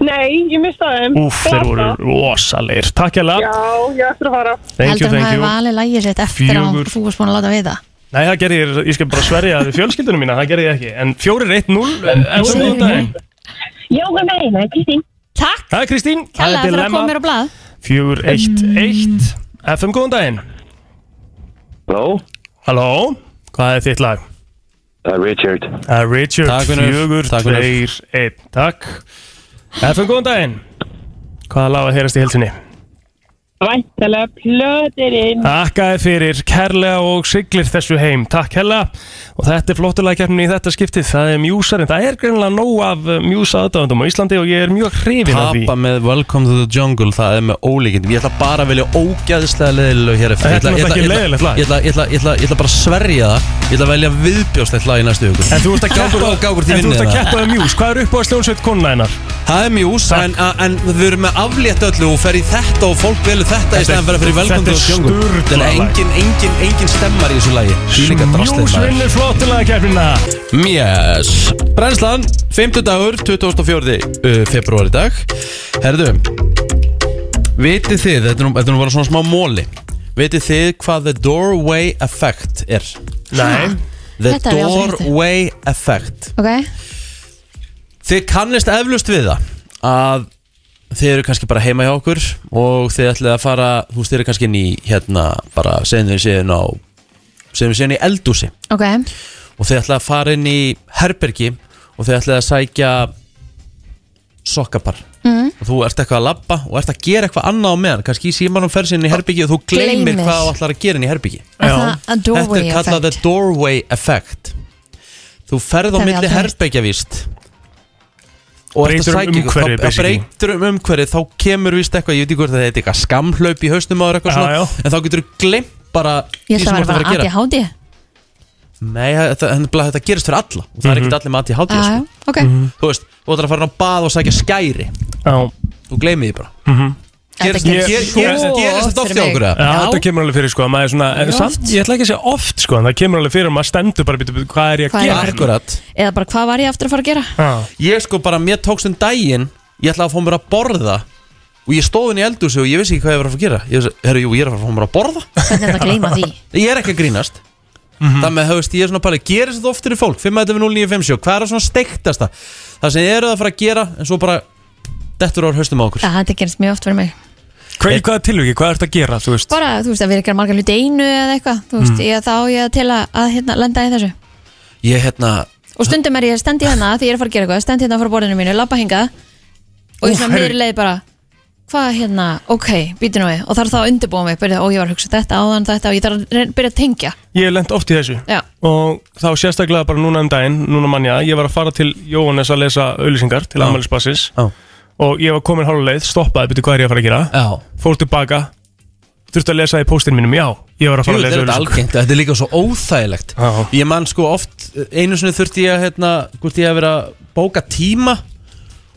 Nei, ég mista þeim
Úf, þeir voru
Blasa.
rosalegir Takk
Já,
kellega,
ég ætla að fara
thank you,
Heldur hann
thank
hafi
you
valið lagið sitt eftir að
Fjögur.
þú varst búin að láta við það
Nei, það gerði ég, ég skal bara sverja að fjölskyldunum mína, það gerði ég ekki En 4-1-0, FM Eh, góðan daginn
Jóka meina, Kristín.
Takk,
Það er Kristín, það
Kalla,
er
fyrir að
Dilemma
koma mér á blað
4-1-1 FM góðan daginn
Halló,
Halló, hvað er þitt lag?
það er Richard.
Það er Eh, Richard,
Takk, vinur.
fjögur,
Takk, vinur.
tveir, einn, takk FM, góðan daginn Hvaða lag að heyrast í helsini?
Væntalega plöðirinn.
Akkaði fyrir, kærlega og siglir þessu heim Takk hella Og þetta er flottulega kjarnin í þetta skiptið Það er mjúsarinn, það er greinilega nóg af mjúsa aðdáðandum á Íslandi og ég er mjög hrifin af því
Papa með Welcome to the Jungle Það er með ólíkindum Ég ætla bara að velja ógæðislega leðilög hér eftir
Þetta
Ég
er
ætla-
náttúrulega ekki
ég ætla-
leiðilegt lag.
Ég ætla- ég ætla- ég ætla- ég ætla bara að sverja það Ég ætla að velja viðbjóðslegt lag í næstu ykkur
En þú ert að keppa
Gákur- gákur til
En
vinnu
þú ert að
eða?
keppa um mjús, hvað er upp á sljónsveit konuna hennar?
Það er mjús en, en við erum með aflétt öllu og fer í þetta og fólk velur þetta í staðan fyrir að fyrir
þetta
velkomdu
er
og sjóngu
sturlað
Þannig að
lag.
engin, engin, engin stemmar í þessu lagi Líka drastlið
Mjús
maður
vinnur flottulega kjarnina
Yes Brænslan, 5. dagur, 24. Uh, februar í dag Herðu Vitið þið, þetta er nú, þetta er nú bara svona smá móli Vitið þið hvað The Doorway Effect er?
Nei,
The
Þetta hef ég aldrei heyrt.
Doorway Effect
Ok,
Þið kannist eflust við það að þið eru kannski bara heima hjá okkur og þið ætlið að fara, þú veist, þið eru kannski inn í hérna, bara segjum við séðin á segjum við séðin í eldúsi
ok
og þið ætlið að fara inn í herbergi og þið ætlið að sækja sokkapar mm. og þú ert eitthvað að labba og ert að gera eitthvað annað á meðan kannski í símanum fer sér inn í herbergi og þú gleymir,
Gleymir.
hvað þú ætlar að gera inn í herbergi
Er það a
Þetta
doorway
er kallað the
effect?
doorway effect Þú
Það hef
ferð á
ég
milli
aldrei heyrt.
herbergja víst Og ert að
Breytir um
sækja ykkur,
umhverfi,
þá- þá
basically.
breytir um umhverfið Þá kemur víst eitthvað, ég veit ekki hvort það heiti eitthvað skamhlaup í hausnum ára eitthvað
Já,
svona
já.
En þá getur þú glemt bara
Ég ætla að vera
að
bara
gera
ADHD
Nei, þetta, en bara þetta gerist fyrir alla Og það er ekkert allir með aðtíð hátíð
Já, já,
sko.
Ah, ok
Þú veist, þú ætlar að fara inn á bað og sækja skæri
Já,
Þú gleymið því bara
Þetta
Gerist-
ég-
gerist
gerist-
svo
gerist- gerist þetta
oft
oft
fyrir
hjá
mig.
okkur eða?
Já, þetta kemur alveg fyrir sko að maður er svona, en
Mjög
samt,
oft.
ég ætla ekki að segja oft sko en það kemur alveg fyrir að maður stendur bara býtu, býtu, hvað er ég
Hvað
að
er
gera?
ég
Akkurat
Eða bara hvað var ég aftur að fara að gera?
Já,
Ég sko bara, mér tókst um daginn Ég ætlaði að fá mér að borða Og ég stóð inn í eldúsi og ég vissi ekki hvað ég var að fara að gera Ég vissi, herru, jú, ég er að fara að fá mér að borða
Hvernig er þetta að gleyma því?
Ég er ekki að grínast mm -hmm. Þannig að höfst, ég er svona pæli, gerist þetta oftir í fólk 5.09.57, hvað er að svona steiktasta Það sem þið eruð að fara að gera En svo bara, dettur ára haustum á okkur
Já, Þetta gerist mjög oft fyrir mig
hvað, í hvaða tilviki, hvað ertu að gera, þú veist?
Bara, þú veist, að við erum að gera margar hluti í einu eða eitthvað Þú veist, ég, þá á ég til að, að hérna, lenda í þessu
Ég hérna,
Og stundum er ég stendi hérna því ég er að fara að gera eitthvað Stendi hérna frá borðinu mínu, labba hingað Og ég svona
herri.
miður leið bara Hvað hérna, ok, býti nú við Og þarf þá að undirbúa mig, byrja, ó ég var að hugsa þetta áðan þetta Og ég þarf að reyna- byrja að tengja
Ég hef lent oft í þessu
Já,
og þá sérstaklega bara núna um daginn, núna mann ég að, ég var að fara til Jóhannes að lesa auðlýsingar til
Já.
Amalisbassis
Já.
og ég var komin hálfa leið, stoppaði, byrju hvað er ég að fara að gera,
já
fór tilbaka, þurfti að lesa í póstinn mínum, já, ég var að fara
Jú,
að
þetta
lesa
er þetta
auðlýsingar.
algengt, þetta er líka svo óþægilegt
Já.
Ég man sko oft, einu sinni þurfti ég að hérna, hvort ég að vera að bóka tíma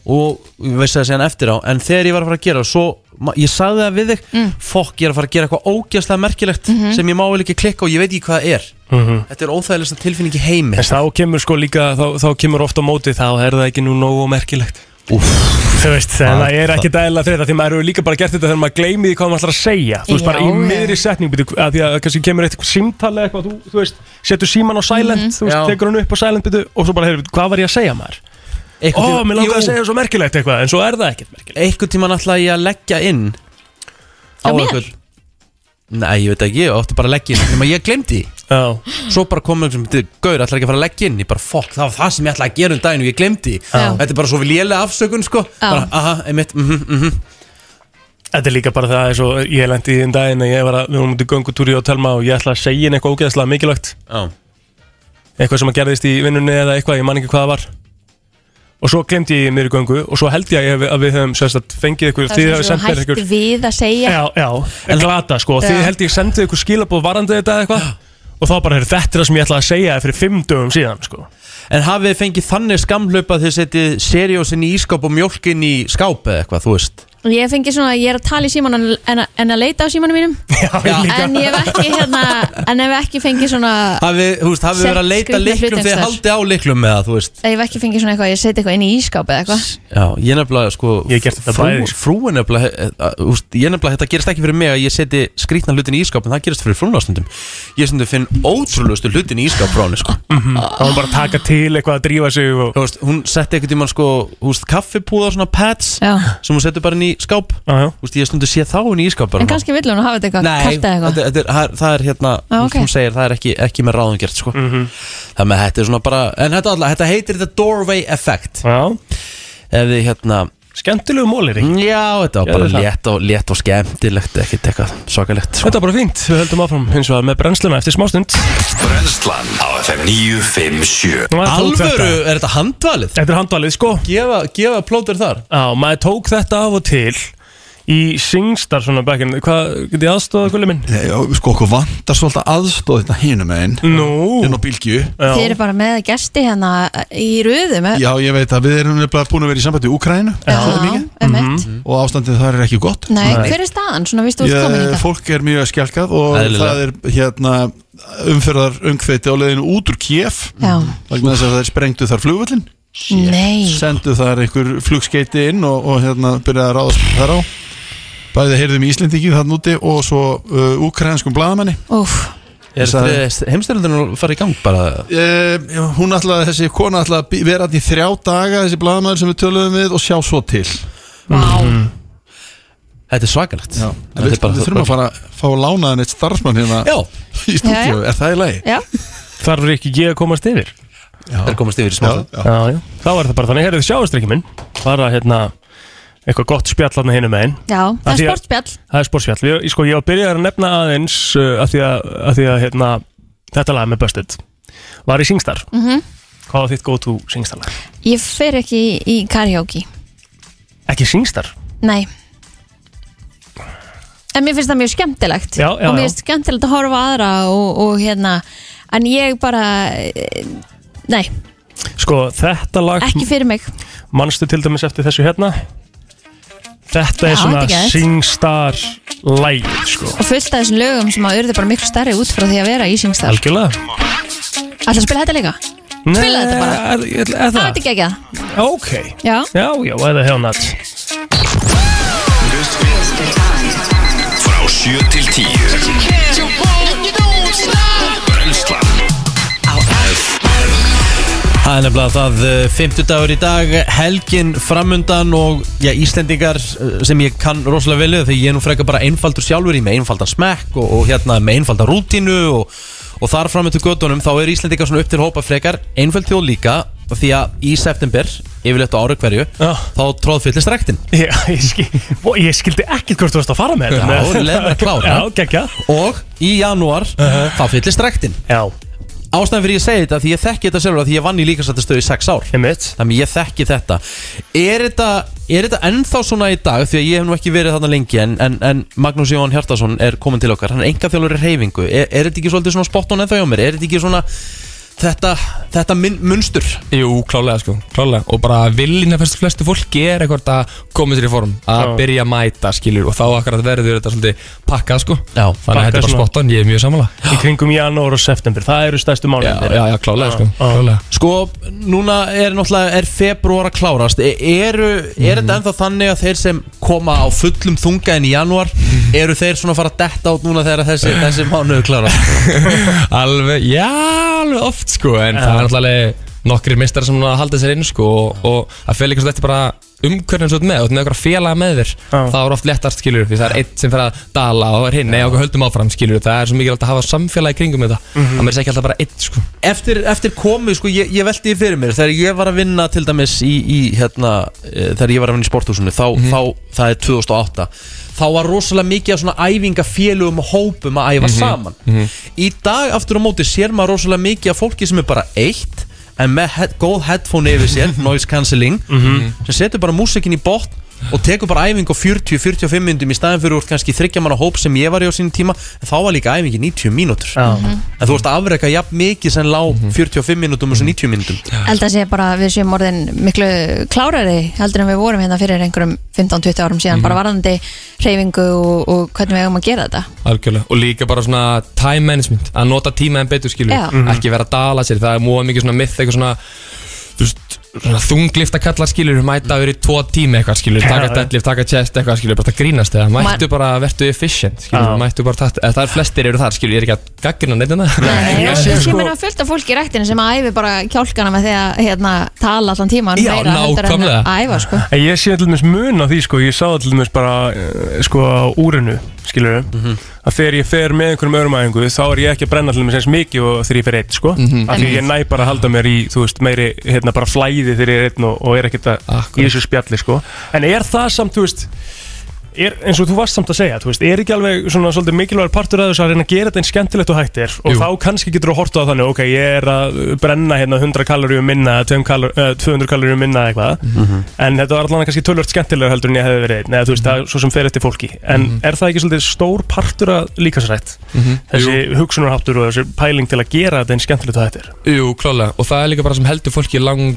og ég veist það síðan eftir á en þegar ég var að fara að gera svo, ma- ég sagði það við þig
Mm.
fokk, ég er að fara að gera eitthvað ógjastlega merkilegt
Mhm.
sem ég má vel ekki klikka og ég veit ekki hvað það er
Mhm.
Þetta er óþægilegsta tilfinning í heimi
En þá kemur sko líka, þá, þá kemur ofta á móti, þá er það ekki nú nógu merkilegt.
Úff.
Þú veist, en það er
það-
ekki dæla fyrir þetta því maður hefur líka bara gert þetta þegar maður gleymi því hvað maður ætlar að segja Þú veist, bara í
Já, já.
miðri setning byrju, að því að kannski kemur eitthvað símtal eða eitthvað, þú, þú veist, setur síman á silent,
Mhm.
þú veist,
Já.
tekur hann upp á silent byrju, og svo bara, heyrðu, hvað var ég að segja maður? Ó,
Eitthvað
mér langar að segja svo merkilegt eitthvað, en svo er það ekkert merkilegt
Eitthvað tíma náttúrulega ég að leggja inn
Hjá mér?
einhvern- Nei, ég veit ekki, ég átti bara að leggja inn nema ég glemdi því
Já,
svo bara kom einhversum til Gaur, ætlar ekki að fara að leggja inn Ég bara, fokk, það var það sem ég ætlaði að gera um daginn og ég glemdi
Já.
Þetta er bara svo lélega afsökun, sko Bara, aha, einmitt, mhm, mhm
þetta er líka bara það eins og ég lendi í þinn daginn að ég var að, við vorum út í göngutúri og telma og ég ætla að segja henni eitthvað ógeðslega mikilvægt
Já,
eitthvað sem að gerðist í vinnunni eða eitthvað, ég man ekki hvað það var og svo glemdi ég mér í göngu og svo held ég að við- að við höfum sérstætt fengið eitthvað,
það
þið
er
hefur
svona
sendt mér eitthvað
hætti við að segja
já, já, en glata sko,
Já.
þið held ég sendið eitthvað skilabóð varandi þetta eða eitthvað og þá bara er þetta er það sem ég ætlaði að segja þér fyrir fimm dögum síðan sko
En hafið þið fengið þannig skamhlaup að þið setið seriósinn í ískáp og mjólkin í skáp eða eitthvað, þú veist
Ég fengi svona, ég er að tala í síman en, en, en að leita á símanum mínum
já,
En ég hef ekki hérna En ef ekki fengi svona
Hafið, þú veist, hafið
Sett
verið að leita
skrýtna hluti
liklum þegar
einhvers
haldið á liklum eða, þú veist
Ef ekki fengi svona eitthvað, ég seti eitthvað inn í ískáp eða eitthvað
Já, ég nefnilega, sko
Ég hef gert þetta
frú-
bæði, sko.
Frúin nefnilega, eh, eh, þú veist, ég nefnilega, þetta gerist ekki fyrir mig að ég seti skrýtna hlutin í ískáp en það gerist fyrir frúna stundum Ég stundum finn ótrúlustu hlutin í ískáp frá henni, sko
Mhm.
þá var bara að taka til eitthvað að drífa sig og
Þú veist, hún setti einhvern tímann sko, þú veist, kaffipúða svona pads
Já.
sem hún setur bara inn í skáp
Já, já.
Þú veist, ég stundu sé þá inn í skáp bara
En kannski vill hún að hafa þetta eitthvað
Nei,
kalt eða
þetta,
eitthvað
þetta er, það er- það er hérna,
Já,
ah,
ok.
hún segir, það er ekki, ekki með ráðum gert sko. mm -hmm. Þannig að þetta er svona bara En þetta, alltaf, þetta heitir The Doorway Effect
já,
Ef þið hérna
skemmtilegu mólir mm.
Já, þetta var
Gerðu
bara
það.
létt og, létt og skemmtilegt ekkert eitthvað svakalegt sko.
Þetta er bara fínt, við höldum áfram hins vegar með brennsluna eftir smástund
Brennslan á FM 957
Nú, maður tók
Alvöru,
þetta.
er þetta handvalið?
Þetta er handvalið sko
Gefa, gefa plótur þar
Já, maður tók þetta af og til í Singstar svona bekkin Hvað, getið þið aðstofað gulli minn?
Nei, já, Sko, okkur vantar svolítið aðstóð þetta hinum einn
Nú
inn á bylgju
Já.
Þið eru bara með gesti hérna í röðum eh?
Já, ég veit að við erum nefnilega búin að vera í sambandi í Ukrænu svolítið
já
mikið, Mhm.
einmitt.
og ástandið þar er ekki gott
Nei, hver er staðan? Svona vístu út Mm, komin
ég,
hingað
Fólk er mjög skjálkað og
Eðlilega.
það er hérna umferðar umkveiti á leiðinu út úr Kiev
Já, Mm.
vegna þess að þeir sprengdu þar flugvöllin
nei
sendu þar einhver flugskeiti inn og, og hérna byrjaði að ráðast þar á bæði heyrðum í Íslendingi þann úti og svo uh, ukrainskum bladamanni
Úf,
Er
Sagði-
heimstyrlundin að fara í gang bara?
uh, hún ætlaði, þessi kona ætlaði að bí- vera þarna í þrjá daga, þessi bladamæður sem við töluðum við og sjá svo til
vá
Þetta er svakalegt
En við, við þurfum að fara að fá lánaðan eitt starfsmann hérna
Já,
í stúdíu,
Já,
er það í lagi?
Já,
Þarf ekki ég að komast yfir?
það er komast yfir í
Já,
smástund
já.
Já, já, þá er það bara þannig, herrið sjáast ekki minn Bara hérna, eitthvað gott spjall hérna hinum einn
já, það
Af
er
því að-
sportspjall
Það er sportspjall, ég, sko ég var byrjað að nefna aðeins uh, að því að, að, því að hérna, þetta lag með Busted var í Singstar
Mhm.
Hvað var þitt go to Singstar lag?
Ég fer ekki í, í karaoke
Ekki Singstar?
Nei En mér finnst það mjög skemmtilegt
Já, já,
Og
já.
mér finnst skemmtilegt að horfa á aðra og, og hérna En ég bara eh, Nei,
Sko þetta lag,
ekki fyrir mig
manstu til dæmis eftir þessu hérna?
Já,
Þetta er svona
þetta er gett.
Singstar lag sko
Og fullt af þessum lögum sem að urðu bara miklu stærri út frá því að vera í syngstar
Algjörlega
Alltaf að spila þetta líka? Spilaðu þetta bara.
er, er, er
Það
það?
veit ekki ekki það
Ok
Já,
Já, já, eða hefur nætt
Frá 7 til 10 Brennslan
Það er nefnilega það eh, 50 dagur í dag, helgin framundan og já, Íslendingar eh, sem ég kann rosalega vel við því ég er nú frekar bara einfaldur sjálfur í með einfaldan smekk og, og hérna með einfaldan rútínu og, og þar framöndu göttunum þá er Íslendingar svona upp til hópa frekar einföld þjóð líka því að í september, yfirleitt á ára hverju
Já.
þá tróðfyllist rektin
Já, ég, skil, Vó, ég skildi ekkert hvort þú varst að fara með þetta
Já, leyfðu mér að klára.
Já, geggja
og í janúar þá fyllist rektin
Já,
Ástæðan fyrir ég segi þetta því ég þekki þetta sjálfur af því ég vann í líkansættastöðu í 6 ár
einmitt
Þannig ég þekki þetta Er þetta, er þetta ennþá svona í dag Því að ég hef nú ekki verið þarna lengi En, en, en Magnús Jóhann Hjartarsson er komin til okkar Hann er enga þjálfur í reyfingu er, er þetta ekki svolítið svona spott on ennþá hjá mér Er þetta ekki svona Þetta, þetta mun, munstur
Jú, klálega sko, klálega Og bara viljina fyrst flestu fólki er eitthvað að koma sér í form Að
Já.
byrja að mæta, skilur Og þá akkurat verður þetta svolítið pakkað sko
Já,
Þannig að þetta er bara
svona.
spot on, ég er mjög samanlega
í kringum janúar og september það eru stærstu
Já,
mánuðir
já, já, klálega sko,
Já.
klálega
Sko, núna er náttúrulega Er februar að klárast E- Eru, Er þetta ennþá þannig að þeir sem koma á fullum þunga en í januar Eru þeir svona að fara að detta át núna Þegar þessi, þessi mánuðu klárast
Alveg, já, alveg oft sko En
Já.
það er náttúrulega nokkrir mistar sem að halda sér inn sko Og, og að fela eitthvað þetta bara umhverjum svo með Þú ert með eitthvað félaga með þér
Já.
Það er oft lettast skilur Því það er einn sem fer að dala og er hinn Nei, okkur höldum áfram skilur Það er svo mikilvægt að hafa samfélagi í kringum þetta mm
Mhm.
Það meir ekki alltaf bara einn sko
eftir, eftir komu, sko, ég, ég veldi því fyrir mér þegar ég var að vinna til dæmis í, í hérna, eh, þegar ég var að vinna í sporthúsinu þá, þá, það er 2008 þá var rosalega mikið af svona æfinga félugum og hópum að æfa saman í dag aftur á móti sér maður rosalega mikið af fólki sem er bara eitt en með he góð headphone yfir sér noise cancelling, sem setur bara músikin í botn og tekur bara æfingu á 40-45 myndum í staðin fyrir úr kannski þryggja manna hóp sem ég var í á sínum tíma en þá var líka æfingi 90 mínútur
Já.
En þú ert að afreka jafn mikið sem lá 45 minútum og svo 90 minútum
held að sé bara að við séum orðin miklu klárari heldur en við vorum hérna fyrir einhverjum 15-20 árum síðan
Mhm.
bara varðandi reyfingu og, og hvernig við eigum að gera þetta
Algjörlega, og líka bara svona time management að nota tíma en betur skilur
Já.
ekki vera að dala sér, það er móða mikið svona myth eitthvað svona, þú veist, svona þunglifta kallar skilur, mæta að vera í tvo tíma eitthvað skilur, taka
Já, já.
deadlift, taka chest eitthvað skilur, bara það grínast eða, mættu bara vertu efficient skilur,
Já.
mættu bara tætt, eða það er flestir eru þar skilur, ég er ekki að gaggrina neitt en það
Nei,
ég
ég,
sé
ég,
sko-
ég meina fullt af fólki í rættinu sem að æfi bara kjálkana með því að hérna, tala allan tíma
Já, nákvæmlega.
að æfa sko.
En ég sé allir mjög mun á því sko, ég sá allir mjög bara eh, sko á úrinu skilur við að þegar ég fer með einhverjum öðrum æfingu þá er ég ekki að brenna allir með sens mikið og þegar ég fer eitt sko,
Mhm.
af því ég næ bara að halda mér í, þú veist, meiri, hérna bara flæði þegar ég er einn og, og er ekkert að í þessu spjalli sko, en er það samt, þú veist Er, eins og þú varst samt að segja, þú veist, er ekki alveg svona svolítið mikilvægur partur að þessu að reyna að gera þetta eins skemmtilegt og hægt er og þá kannski getur þú að horta á þannig, ok, ég er að brenna hérna 100 kaloríu minna, 200 kalor- eh, 200 kaloríu minna eða eitthvað en þetta var allan kannski tölvört skemmtilegur heldur en ég hefði verið einn, eða þú veist, það er svo sem fer eftir fólki en er það ekki svolítið stór partur að líka sér hægt
Mhm.
þessi hugsunarháttur og þessi pæling til að gera þetta eins skemmtilegt og hægt er
Jú, klálega, og það er líka bara sem heldur fólki í lang,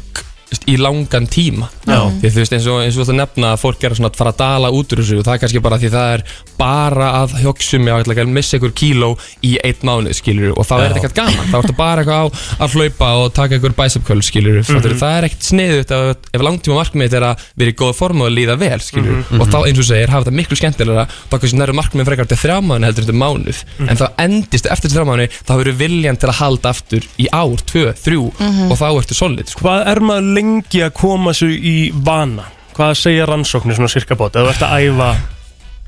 í langan tíma
Já.
því þú veist eins og, eins og þú ert að nefna að fólk er svona að fara að dala út úr þessu og það er kannski bara því það er bara að hugsa mig að ætla að missa einhver kíló í einn mánuð skilur og þá
Já.
er þetta ekkert gaman þá ertu bara eitthvað á að hlaupa og taka einhver bæsapköl skilur mm
Mhm.
það er ekkert sniðut ef, ef langtíma markmiðið er að vera í góða form og líða vel skilur
Mhm.
og þá eins og þú segir hafa þetta miklu skemmtilega þá kannski nærðu markmiðin frekar til þrjá mánuð heldur þetta mánuð en þá endist eftir þrjá mánuð þá verður viljan til að halda aftur í ár, tvö, þrjú
Mhm.
og þá ertu solid sko.
Hvað er maður lengi að koma sér í vana? Hvað segja rannsóknir svona cirka bóta? Þú ert að æfa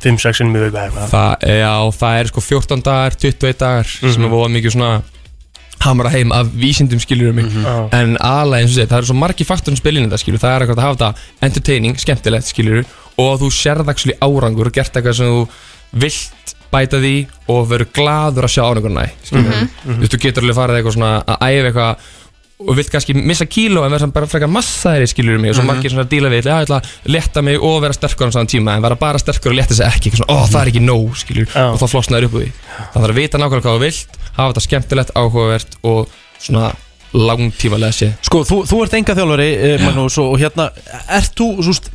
5-6 sinnum í viku eða
Mhm.
eitthvað
það, já, það er sko 14 dagar, 21 dagar
Mhm.
sem er voða mikið svona hamra heim af vísindum skilur mig
Mm.
en aðlega eins og segja, það eru svo margi faktorinn spilin þetta skilur, það er eitthvað að hafa þetta entertaining, skemmtilegt skilur og þú sérð actually árangur og gert eitthvað sem þú vilt bæta því og verður gladur að sjá árangurna skilur
Mhm.
þú veist, þú getur alveg farið eitthvað svona að æfa eitthvað og vilt kannski missa kíló en verður bara frekar massaðir skilur mig og svo
Mhm.
margir svona að díla við, já, ég ætla að letta mig og vera sterkur á saman tíma en vera bara sterkur og letta sig ekki, eitthvað svona, ó, það er ekki nóg skilur, og þá flosnaður upp úr því það þarf að vita nákvæmlega hvað þú vilt, hafa þetta skemmtilegt áhugavert og svona langtímalega sé
Sko, þú, þú ert enga þjálfari, Magnús, og og hérna, ert þú, þú veist,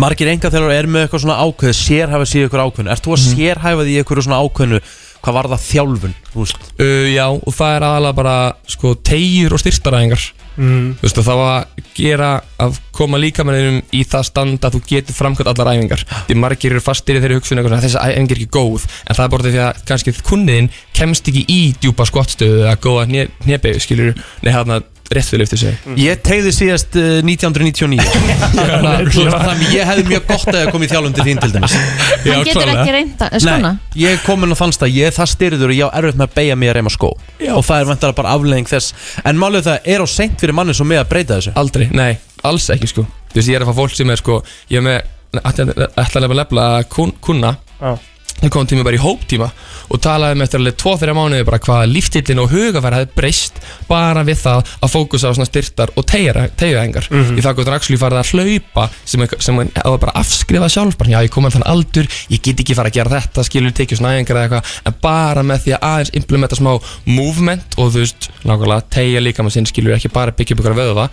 margir enga þjálfari er með eitthvað svona ákveð, sérhæfa sig í eitthvað ákveðinu, ert þú að
Mhm.
sérhæfa því í eitthvað svona ákveðinu, hvað var það þjálfun, þú veist?
uh, Já, og það er aðalega bara sko, tegjur og styrtaræðingar
Mhm.
Þú veist, og það var að gera að koma líkamanninum í það stand að þú getur framkvæmt allar æfingar því margir eru fastir í þeirri hugsun eitthvað svona, þessi æfing er ekki góð en það er bara því að kannski kunniðin kemst ekki í djúpa skottstöðu eða góða hnebegu, skilur nei, hann að réttfylifti sig
Ég tegði síðast uh, 1999 Þannig að- þú veist, þannig að Ég hefði mjög gott að koma í þjálfum til þín til dæmis
Já, Hann getur klálega. ekki reynt að- skóna?
Nei, ég er komin á þann stað, ég er það styrður og ég á erfitt með að beigja mig að reyma skó Já. og það er vantar bara afleðing þess En málið er það, er á seint fyrir manni svo með að breyta þessu?
Aldrei, nei, alls ekki sko Þú veist, ég er að fá fólk sem er sko Ég er með, ætla að nefna lefla kun, kunna
Já.
Það kom tími bara í hóptíma Og talaði með eftir alveg 2-3 mánuði bara hvað líftillin og hugafæri hefði breyst bara við það að fókusa á svona styrtar og tegjaðingar mm -hmm. Í það gott hann actually farið að hlaupa sem, er- sem hann hafa bara afskrifað sjálf bara, Já, ég kom að þann aldur, ég get ekki fara að gera þetta skilur tekið svona æfingar eða eitthvað en bara með því að aðeins implementa smá movement og þú veist, nákvæmlega tegja líka maður sinn skilur ekki bara byggja upp ykkur vöðva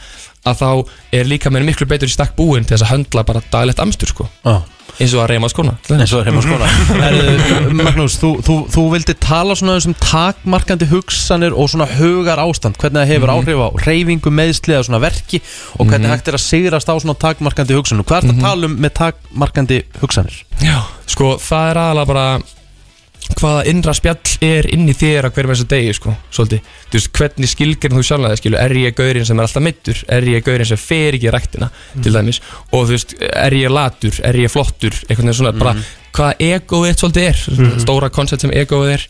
að þá er líka mér miklu betur í stakk búin til þess að höndla bara daglegt amstur sko
ah.
eins og að reyma skona
eins og að reyma skona Herðu, Magnús, þú, þú, þú vildi tala svona um takmarkandi hugsanir og svona hugar ástand, hvernig það hefur
Mhm.
áhrif á reyfingu, meðsli eða svona verki og hvernig
Mhm.
hægt er að sigrast á svona takmarkandi hugsanir Hvað er þetta að tala um með takmarkandi hugsanir?
Já, sko það er aðalega bara hvaða innra spjall er inn í þér á hverjum þessu degi sko, svolítið þú veist, hvernig skilgjörn þú sjálfnaði, skilu, er ég gaurinn sem er alltaf mittur, er ég gaurinn sem fer ekki í ræktina, til dæmis, og þú veist er ég latur, er ég flottur, eitthvað veginn svona, bara hvað egoið þitt svolítið er
Mhm.
stóra koncept sem egoið er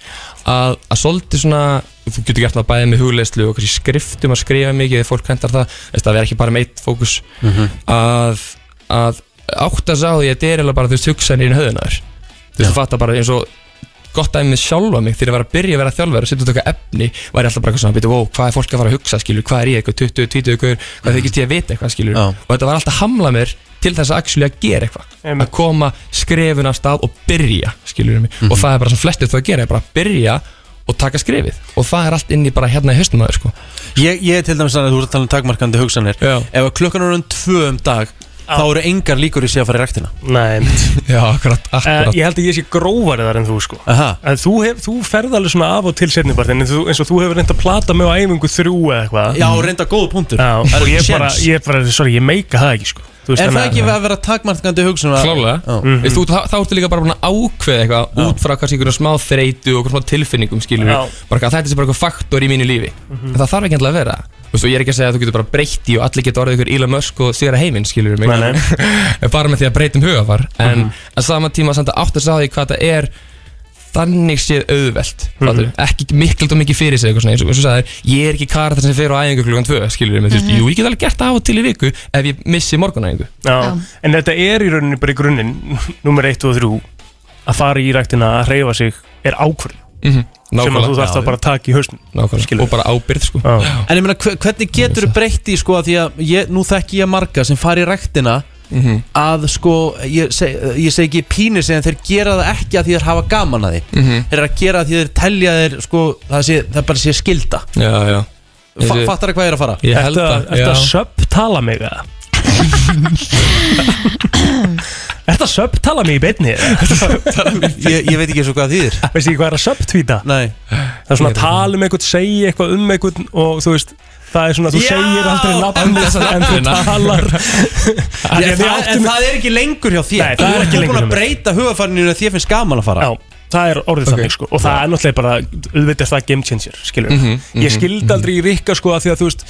að, að svolítið svona, þú getur gert það bæðið með hugleyslu og kannski skriftum að skrifa mikið, þegar fólk hentar það, veist, að vera ekki bara með eitt fókus
Mhm.
að, að átt að sá því að þetta er eiginlega bara þú veist hugsanir í höðunar þú veist þú fattar bara eins og gott dæmi með sjálfa mig þegar ég var að byrja að vera sko, þjálfur og setja út eitthvað efni var ég alltaf bara eitthvað svona býta, wow, hvað er fólk að fara að hugsa skilur hvað er ég eitthvað 20, 20 ykkur hvað þykist ég að vita eitthvað skilur
Já.
og þetta var alltaf að hamla mér til þess að actually að gera eitthvað að koma skrefun af stað og byrja skilur mig og það er bara sem flestir þú að gera er bara að byrja og taka skrefið og það er allt inn í bara hérna í höstum aður sko
Ég, ég er til dæmis þannig að þú ert að tala um takmarkandi hugsanir
Já.
Ef að klukkan er um tvö um dag þá eru engar líkur í sig að fara í rektina
Nei
Já, akkurat,
Eh, Ég held að ég sé grófari þar en þú sko
Aha.
En þú, hef, þú ferð alveg svona af og til setnibartin eins, eins og þú hefur reynda að plata mig á æfingu þrjú eða eitthvað
Já, reynda góð punktur
Já,
Það er
og ég
ekki
bara,
séns.
ég bara, sorry, ég meika það ekki sko Þú veist,
Er
þannig
það
að-
ekki að vera takmarkandi hugsun
Klálega,
Mhm.
mm -hmm. þá, þá ertu líka bara búin að ákveða eitthvað út frá kannski einhverjum smá þreytu og einhverjum smá tilfinningum skilur
Já. Mhm.
við, bara að þetta sé bara eitthvað faktor í mínu lífi en það þarf ekki endilega að vera Þú veist, og ég er ekki að segja að þú getur bara breytt í og allir getur orðið ykkur Elon Musk og sigra heiminn, skilur mig
Nei,
En bara með því að breytum hugafar en mm
Mhm.
að sama tíma samt að áttur sá því hvað það er þannig séð auðvelt mm
Mhm.
-hmm. ekki mikilt og mikið fyrir sig eitthvað svona, eins og, eins og sagðir, ég er ekki karta sem fer á æfingu klukkan tvö skilur mig, þú veist,
Mhm.
jú, ég get alveg gert það af og til í viku ef ég missi morgunæfingu
Já, en þetta er í rauninni bara í grunninn nummer 1 og 3 að fara í ræktina að hreyfa sig er ákvörðin
Mhm,
sem að
nákvæmlega.
þú þarfst
Já,
að bara taka í hausnum
Nákvæmlega, og bara ábyrð sko
En ég meina, hve- hvernig getur þú breytt í sko að því að ég, nú þekki ég marga sem fari í rektina
Mhm.
að sko, ég segi seg ekki pínir sig en þeir gera það ekki að því þeir hafa gaman að því
Mhm.
Þeir eru að gera það því þeir telja þeir sko, það, sé, það bara sé skilda
Já, já
Fa, Fattar það hvað ég er að fara?
Ertu að, ertu að subtala mig eða? Ertu að subtala mig í beinni?
ég, ég veit ekki eins og hvað þýðir
Veist ekki hvað er að subtvíta?
Nei
Það er svona að tala um einhvern, segja eitthvað um einhvern og þú veist, það er svona þú
Já!
segir aldrei
En
nafnið
þessa
en þú
nafnina.
talar
En, en, það, en það er ekki lengur hjá þér
Nei, það er
Þú ert
ekki lengur
búin
hjá
að
mér.
breyta hugafarninu að þér finnst gaman að fara
Já, það er orðið þannig sko Og það er náttúrulega bara, auðvitað er það game changer Skilur mm
Mhm, mhm,
Ég skildi aldrei í Rikka sko að því að þú veist því-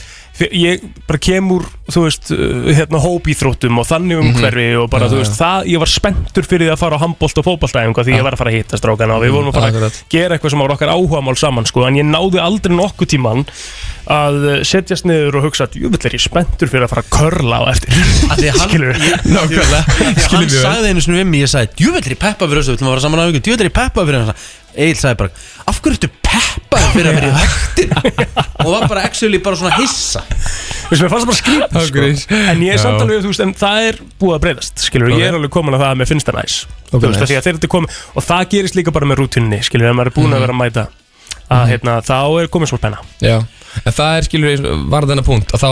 Ég bara kemur, þú veist uh, Hérna hópíþróttum og þannig umhverfi Og bara
Mhm. Já,
þú veist,
já.
það, ég var spenntur fyrir því að fara á handbólt og fótballtæfingu Því
Já. Mhm,
ég var að fara að hitta strákana Og við vorum að fara að
Akkurat.
gera eitthvað sem var okkar áhugamál saman sko En ég náði aldrei nokkuð tíman Að setjast niður og hugsa Jú, vill er ég spenntur fyrir að fara að körla á eftir Skilur
Nákvæmlega
Skilur
Hann
við.
sagði einu svona við mig, ég sagði Djúvellir í peppa fyrir þessu, við ætlum að vera saman á augun Djúvellir í peppa fyrir þessu Egil sagði bara, af hverju ertu peppa fyrir að vera í hættina Og var bara actually bara svona hissa
Þú veist, mér fannst það bara skrítið
Á grís.
sko. En ég er samt
Já.
alveg, þú veist, en það er búið að breyðast Skilur,
Ok.
ég er alveg komin að það að mér finnst það næs Þú veist,
nice.
nice. að þegar þetta komin Og það gerist líka bara með rútunni, skilur, ef maður er búin að vera að mæta Að, hérna, þá er komin svona penna
Mhm. Já, en það er skilur varð þennan punkt að þá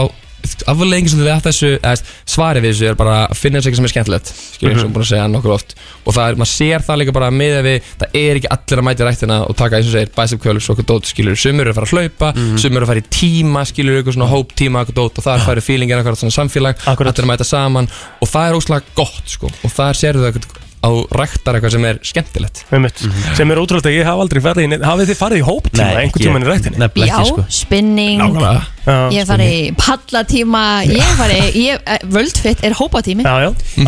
aflengi sem þú við að þessu eða, svari við þessu er bara að finna þessu eitthvað sem er skemmtilegt skilur eins og
Mhm.
við búin að segja nokkur oft og það er, maður sér það líka bara með að við það er ekki allir að mæta í rættina og taka eins og segir bicep curls og okkur dót skilur sumur eru að fara að hlaupa, sumur eru að fara í tíma skilur eitthvað svona hóp tíma okkur dót og það er farið feelingin okkur svona samfélag, allir að mæta saman og það er óslega gott sko og það sér þau eitthvað á ræktar eitthvað sem er skemmtilegt
Mhm. Sem er ótrúlega, ég haf aldrei farið í neitt Hafið þið farið í hóptíma
Nei,
einhvern
ekki.
tímann í rættinni?
Nefnilega
Já,
sko.
spinning Ég fari í pallatíma Ég fari, ég, eh, völdfitt er hópatími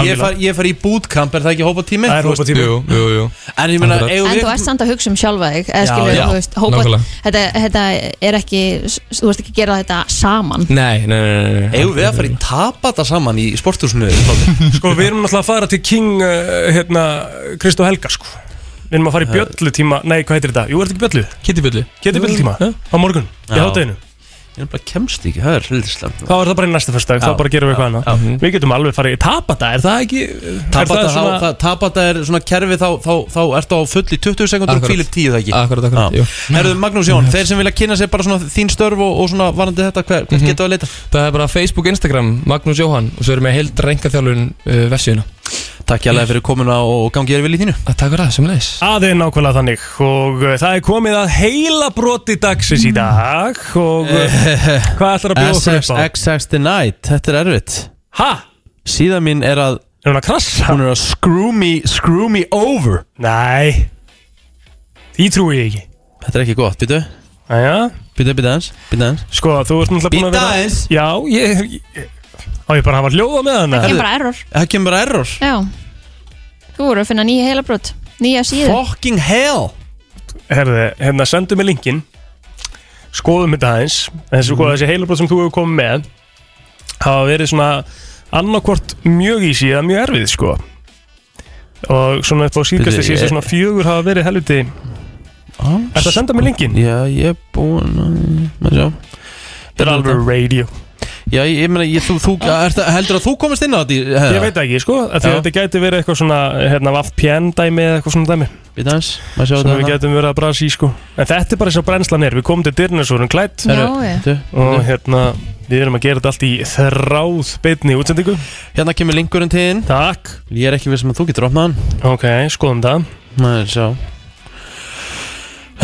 Ég fari ég fari í bootcamp, er það ekki hópa tími?
Það er hópatími. Jú,
jú, jú
En ég meina,
Akkurat.
eigum
En
við
þú ert samt að hugsa um sjálfa þig eða
Já,
skilur,
já,
þú veist, hópa,
nákvæmlega.
þetta, þetta er ekki þú ert ekki að gera þetta saman
Nei, nei, nei, nei, nei.
Eigum við að fara í tapata saman í sporthúsinu?
Sko, við erum náttúrulega að fara til King, uh, hérna, Kristó Helga, sko Við erum að
Eh.
fara í bjöllutíma, nei, hvað heitir þetta? Jú, er þetta ekki bjöllu?
Kittibjöllu
Kittibjöllutíma, á morgun, í
Eh? Já.
hátæðinu
Ég er bara kemst ekki, það er hildið slemt
Þá er það bara í næsta fyrstdag, þá
Já,
bara gerum
já,
við eitthvað annað Við getum alveg farið í tapata, er það ekki er
Tapata,
það svona-
þá- það- tapata er svona kerfi þá, þá, þá ertu á fulli 20 sekundur og
Akkurat.
kvílir 10 það ekki
Akkurat, akkurat, jú.
Herðu Magnús Jón, þeir sem vilja kynna sér bara svona þín störf og, og svona varandi þetta, hver, hvert geta að leita?
Það er bara Facebook, Instagram, Magnús Jóhann og svo erum við heild reyngaþjálfun uh, vefsíðuna
Takk hérlega fyrir komuna og gangi þér vel í þínu
Takk fyrir það, sem leis
Það er nákvæmlega þannig og uh, það er komið að heila broti dagsins í dag og uh,
Eh.
hvað ætlar að bjóða okkur upp á?
SXX The Night, þetta er erfitt
Ha?
Síðan mín er að
Er hún að krassa?
Hún er að screw me, screw me over
Nei Því trúi ég ekki
Þetta er ekki gott, býtu
Æja
Býtu, býtu aðeins, býtu aðeins
Sko, þú ert náttúrulega búin að
Bíddu
vera
aðeins.
Já, ég, ég Á ég bara að hafa hljóða með hana
Það kemur bara error
Það kemur bara error
Já, þú voru að finna nýja heilabrot Nýja síðu
Fucking hell
Herði, hérna sendu mig linkin Skoðum þetta aðeins
Mhm.
Þessi, mm. þessi heilabrót sem þú hefur komið með hafa verið svona annarkvort mjög í síðan mjög erfið sko og svona upp á síðkastis
Bíddu,
síðustu
ég-
svona fjögur hafa verið helviti
Er
það að senda mig linkin?
Já, ég er búinn að maður sjá
Þetta er alveg radio
Já, ég, ég meina, ég, þú, þú, er, heldur að þú komist inn á þetta? í-
Ég veit það ekki sko, af því
Já.
að þetta gæti verið eitthvað svona hérna VPN dæmi eða eitthvað svona dæmi
Býta aðeins, maður sjá
sem
þetta
við
hérna.
getum verið að brasa í sko En þetta er bara eins og brennslan er, við komum til dyrnasúrum klætt
Herru, Já, ég. bíddu,
Og
bíddu.
hérna, við erum að gera þetta allt í þráð beinni útsendingu
Hérna kemur linkurinn til þinn
Takk
Ég er ekki við sem að þú getur opnað hann
Ok, skoðum það
Maður sjá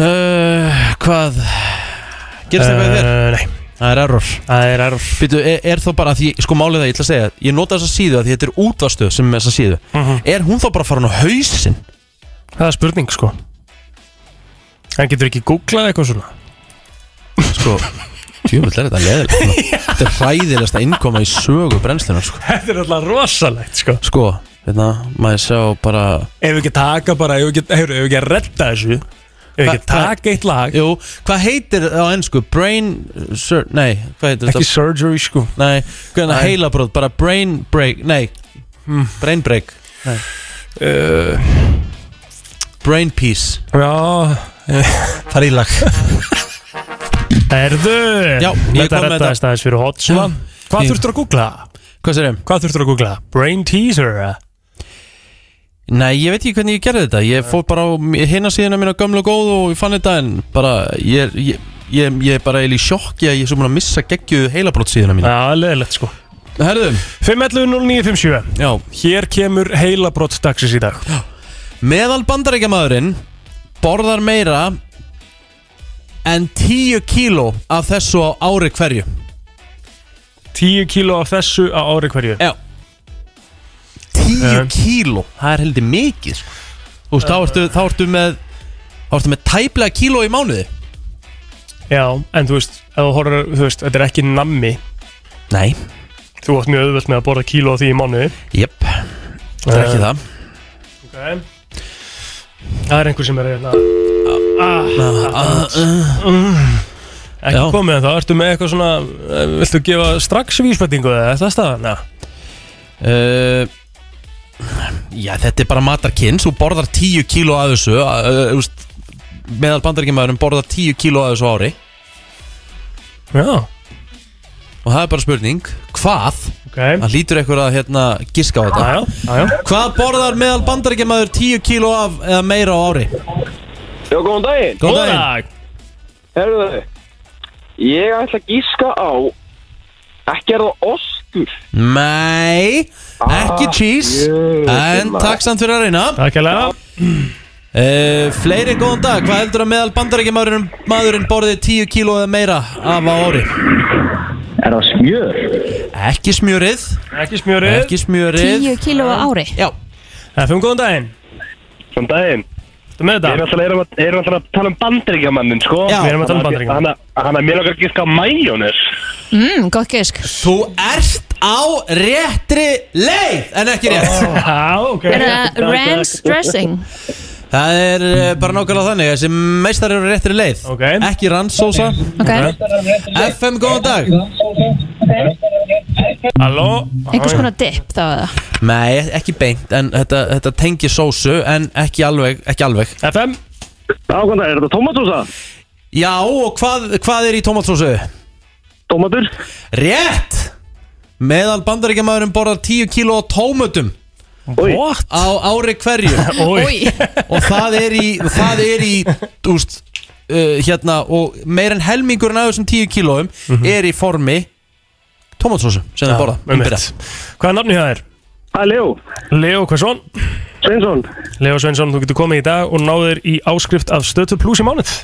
uh, Hvað Gerist það eitthvað í þér?
Nei
Það er error
Eh, Það er error
Býtu, er, er þá bara að því, sko málið það ég ætla að segja Ég nota þessa síðu að því þetta er útvastuð sem er þessa síðu
Mhm.
Er hún þá bara farin á hausinn?
Það er spurning sko Hann getur ekki googlað eitthvað svona
Sko Tjöfull er þetta leðilegt Þetta er hræðilegast að innkoma í sögu brennslunar sko.
Þetta er alltaf rosalegt sko
sko, hérna, maður sjá bara
Ef við ekki að taka bara, ef við ekki, heyru, ef við ekki að redda þessu Ef við ekki að taka eitt lag
Jú, hvað heitir á ennsku? Brain, sur, nei, hvað heitir
Ekki surgery sko
Nei, Hmm. hvernig
Nei.
heilabrót, bara brain break Nei, brain break Nei
Eh,
Brain piece
Já
Það er í lag
Erðu
Já, ég
Þetta
kom með þetta.
reddaðist aðeins fyrir hotsva Hvað
Ég-
þurftur að googla?
Hvað sér ég?
Hvað þurftur að googla? Brain teaser eh?
Nei, ég veit ekki hvernig ég gerði þetta Ég fór bara á hinna síðuna mína gömlu og góð og ég fann þetta en bara ég, er- ég, ég, ég er bara eiginlega í sjokki að ég er svo múin að missa geggju heilabrót síðuna mína
Já, leðilegt sko
Herðu
5.11.09.57
Já
Hér kemur heilabrott dagsins í dag
Meðal bandaríkjamaðurinn borðar meira en 10 kíló af þessu á ári hverju
10 kíló af þessu á ári hverju
Já 10 kíló, það er heldur mikið sko. Þú veist, þá ertu, þá ertu með þá ertu með tæplega kíló í mánuði
Já, en þú veist, ef þú horfir, þú veist, þetta er ekki nammi
Nei
Þú átt mjög auðvöld með að borða kíló af því í mánuði
Jep, það
Uh.
er ekki það
okay. Það er einhver sem er hérna ah, ah,
Já.
Ekki komið en það, ertu með eitthvað svona eh, Viltu gefa strax vísbætingu eða er það staðan?
uh, Já, þetta er bara matarkinn Þú borðar 10 kíló af þessu uh, uh, þú veist, Meðal bandaríkjamaðurinn borðar 10 kíló af þessu á ári
Já
Og það er bara spurning Hvað?
Okay.
Það lítur eitthvað að hérna, giska á þetta
Aja, aja.
Hvað borðar meðal bandaríkjamaður 10 kíló af eða meira á ári?
Já, góðan daginn
Góðan Góðan daginn.
Herðu, ég ætla að gíska á Ekki er það ostur
Nei,
Ah,
ekki cheese En takk samt fyrir að reyna
Takk alveg
uh, Fleiri góðan dag Hvað heldur að meðal bandaríkjamaðurinn maðurinn borði 10 kíló eða meira af á ári?
Er það smjör?
Ekki smjörið
Ekki smjörið
Ekki smjörið
10 kíló á ári
Já
Efum góðan daginn
Góðan daginn
Þú með þetta?
Við erum alltaf- erum að- erum alltaf að tala um bandaríkjamannin sko
Já. Við erum að tala um Bandaríkjamann.
Þannig að- Þannig að mér okkar gíska á majónis
mm, Gott gæsk
Þú ert á réttri leið En ekki rétt
Oh. Já, ok
Er það ranch dressing?
Það er eh, bara nákvæmlega þannig Þessi meistar eru á réttri leið okay. Ekki rannsósa
Ok.
FM, góðan dag Halló
Einhvers konar dip þá eða
Nei, ekki beint En þetta, þetta tengi sósu En ekki alveg, ekki alveg
FM
Já, hvað er þetta? Tomatsósa? Já, og hvað, hvað er í tomatsósu?
Tómatur
Rétt! Meðal bandaríkjamaðurinn borðar 10 kíló á tómötum
What?
Á ári hverju
Oj. Oj.
Og það er í, það er í úst, uh, Hérna Og meir en helmingurinn af þessum 10 kílóum Er í formi Tomatsósu sem
Mhm. Já,
það borða
einmitt. Um Hvað er nafni það er? Það er Leo Leo hversson? Sveinsson Leo Sveinsson, þú getur komið í dag og náður í áskrift af stötu pluss í mánuð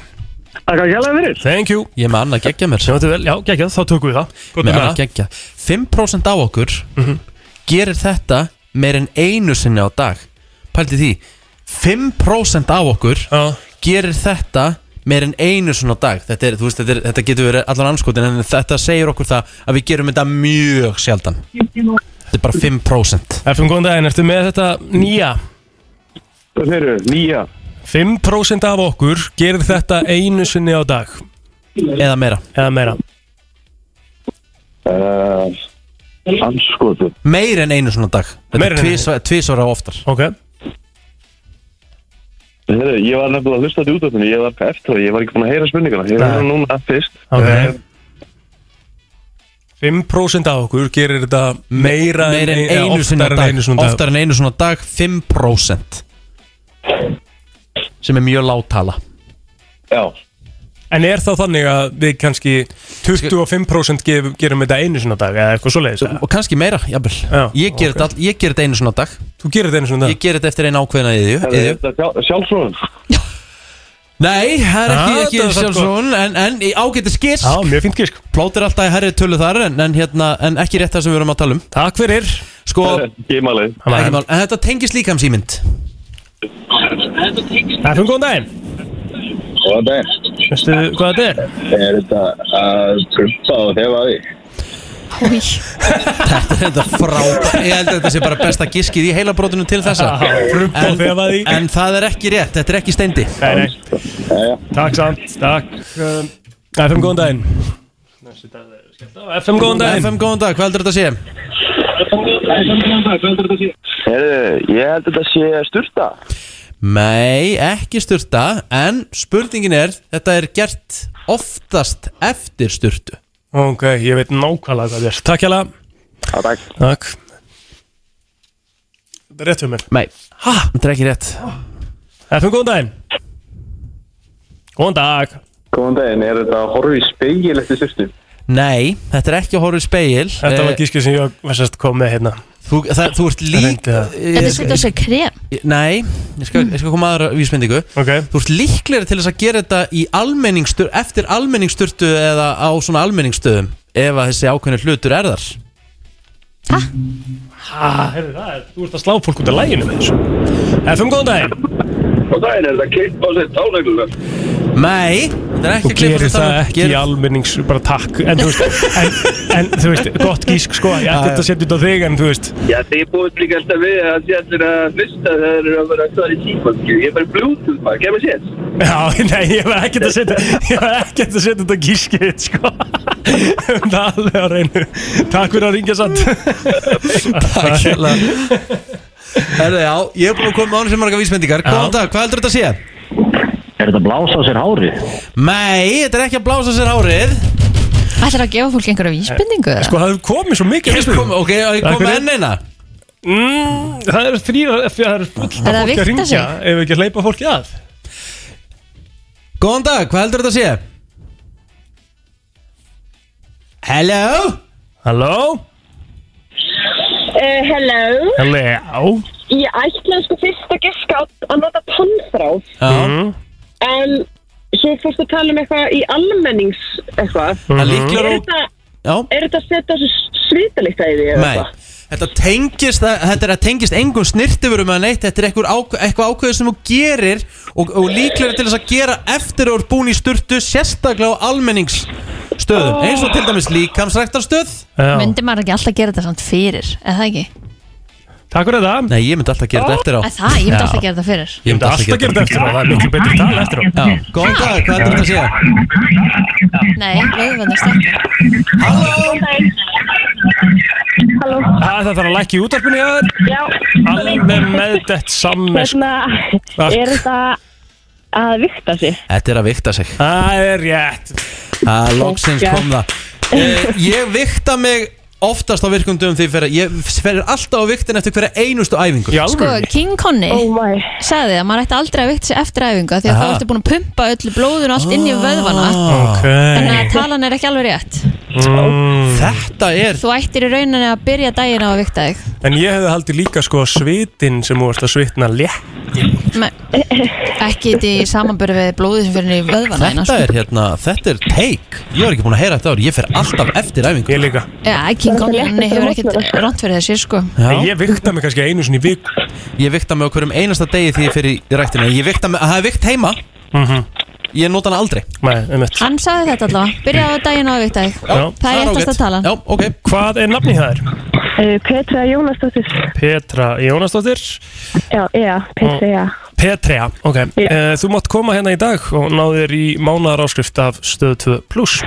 Takk að kjalla fyrir Thank you
Ég er með annað geggja mér
Sem þetta vel, já, geggjað, þá tökum við það Gott
með
með
að
það. Mhm.
gegja 5% á okkur gerir þetta meir en einu sinni á dag pælti því 5% á okkur gerir þetta meir en einu sinni á dag þetta, er, þú veist, þetta, er, þetta getur verið allan anskotin en þetta segir okkur það að við gerum þetta mjög sjaldan þetta er bara 5%
FM góðan daginn, ertu með þetta nýja? Hvað þeir eru? Nýja 5% af okkur gerir þetta einu sinni á dag
Eða meira
Eða meira
uh,
anskotin meir en einu sinni á dag þetta
Meira
er
en einu.
tvisvar- tvisvar á oftar
ok
Heru, Ég var nefnilega að hlusta þetta út af því Ég var eitthvað eftir það, ég var ekki búin að heyra spurningana Ég var núna fyrst
Ok 5% af okkur gerir þetta meira
meir en
eða
einu sinni á
oftar en
dag
einu sinni á dag.
oftar en einu sinni á dag 5% sem er mjög láttala
Já
En er þá þannig að við kannski 25% gef, gerum þetta einu sinna dag eða eitthvað svoleiðis
og kannski meira, jafnvel ég ger
ok.
þetta all- ég ger þetta einu svona dag
þú gerir þetta einu svona dag
ég ger þetta eftir einu ákveðina
Er
yðju
þetta Sjálfsvöðun
nei, það er
Ah,
ekki, ekki
þetta er samt
sjálfsvon en, en í ágæti skisk
já, mjög fint skisk
plótir alltaf í herri tullu þar en, en, hérna, en ekki rétt það sem við erum að tala um
takk fyrir
sko,
Gímali
ekki mál, en þetta tengist um líkamsýmynd
Það er fyrir góðan daginn
Góðan daginn
Veistu hvað þetta er?
Er þetta að skrumpa og hefa því?
Þetta er þetta frábært Ég held að þetta sé bara besta giskið í heilabrótunum til þessa
Frumpa og þefaði.
en, en það er ekki rétt, þetta er ekki steindi
Nei, nei. Takk samt, takk Um, FM góðan daginn FM góðan daginn
FM góðan dag, hvað heldur þetta að sé?
Herðu, ég held að þetta sé styrta
Nei, ekki styrta En spurningin er, þetta er gert oftast eftir styrtu
Ok, ég veit nákvæmlega hvað það er Takk hjá
Takk
Takk Þetta er rétt hjá mér
Nei, ha, þetta er ekki rétt
FM góðan daginn Góðan dag
Góðan daginn, er þetta að horfa í speil eftir styrtu?
Nei, þetta er ekki að horfa í speil
Þetta var gískið sem ég var sérst kom með hérna
Þú, það, þú ert lík
Þetta er svolítið að segja krem
Nei, ég skal, ég skal koma aðra vísmyndingu
okay.
Þú ert líklegri til þess að gera þetta í almenningstur, eftir almenningsturtu eða á svona almenningstöðum ef að þessi ákveðni hlutur er þar
Ha, heyrðu það, er- þú ert að slá fólk út af læginu með þessu FM góðan daginn
Og það er þetta kippa sér táleglunar.
Nei, þetta um. er ekki
Þú
að klippa
gerir
sér
það
tánum.
ekki í almennings bara takk en þú veist, en, en, þú veist gott gísk sko, ég ætti
Já, já.
þetta að setja út á þig en þú veist
Já, þið búið líka alltaf við að þið ætlir að hlusta þegar þeir eru að vera að svara í tíma, skilju. Ég er bara Bluetooth, maður, kemur sér.
Já, nei, ég var ekkert að setja ég var ekkert að setja þetta gískið þitt, sko um það er alveg á reynu Takk fyrir að ringja satt
Takk hérlega. Herðu, já, ég er búin að koma með ánum sem marga vísmyndingar Góðan dag, hvað heldur þetta að sé?
Er þetta að blása á sér hárið?
Nei, þetta er ekki að blása sér hárið
Ætlar að gefa fólk einhverja vísbendingu? eða?
Sko, það hefur komið svo mikið
Ég kom, ok, ég
Takk
kom með
fyrir.
enn eina
mm, Það er þrýra, það er fullt
Er það að
af fólki
vigta
að ringja
sig?
ef við ekki að hleypa fólki að
Góðan dag, hvað heldur þetta að sé? Hello?
Hello?
Uh, hello.
Hello?
Ég ætlaði sko fyrst að giska á að nota tannþráð.
Já
En svo fórst að tala um eitthvað í almennings eitthvað.
Mm.
Það líklar á-
Er þetta-
Já.
Er þetta að setja þessu svítalíkt að því? eða
Nei,
eitthvað?
þetta tengist þetta er að tengist engum snirtifurum eða neitt, þetta er eitthvað, ák eitthvað ákveðið sem þú gerir og, og líklega til þess að gera eftir að þú ert búin í sturtu sérstaklega á almenningsstöðum eins og til dæmis líkamsræktarstöð
Myndi maður ekki alltaf gera þetta samt fyrir Er það ekki?
Takk fyrir það
Nei, ég myndi alltaf gera þetta eftir á
Er það? Ég myndi alltaf
Já.
gera þetta fyrir
Ég myndi alltaf gera þetta eftir á,
það er miklu betri tal eftir á
Já, góðan dag, hvað heldur þetta að segja?
Nei, auðvendast ekki
Góðan daginn. Halló.
Ha, Það þarf að lækja í útarpinu hjá þér
Já.
Alveg með þetta sammesk
Hérna, er þetta að vikta sig?
Þetta er að vikta sig
Það er rétt
Það loksins
Geggjað.
kom það Eh, Ég vikta mig oftast á virkundum því fyrir ég fyrir alltaf á viktin eftir hverja einustu æfingu
Sko, King Conny
oh
sagði að maður ætti aldrei að vikta sig eftir æfingu af því að
Aha. Ah,
þá ertu búin að pumpa öllu blóðun og allt inn í vöðvana
Ok.
þannig að talan er ekki alveg rétt
Mm.
Þetta er
Þú ættir í rauninni að byrja daginn á að vikta þig
En ég hefði haldið líka sko svitin sem þú varst að svitna létt
Men, Ekki þetta í samanbyrju við blóðið sem fyrir niður í vöðvana þína,
Þetta
sko.
er hérna, þetta er take Ég var ekki búin að heyra þetta ári, ég fer alltaf eftir æfingu
Ég líka
Já, King Conny hann hefur ekkert ránt fyrir þessi sko
Ég vikta mig kannski einu sinni í vik
Ég vikta mig okkur um einasta degi því ég fer í ræktina Ég vikta mig, það er vikt heima Ég nota hana aldrei
Mhm. Nei, einmitt
Hann sagði þetta allavega, byrjaði á daginn á að vikta þig
Já.
Það er réttast að tala
Já, ok
Hvað er nafni það er?
Eh, Petra Jónasdóttir.
Petra Jónasdóttir
Já, já, Petra, já.
Mm. Petrea, ok yeah. Þú mátt koma hérna í dag og náðu þér í mánaðar áskrift af stöð 2 pluss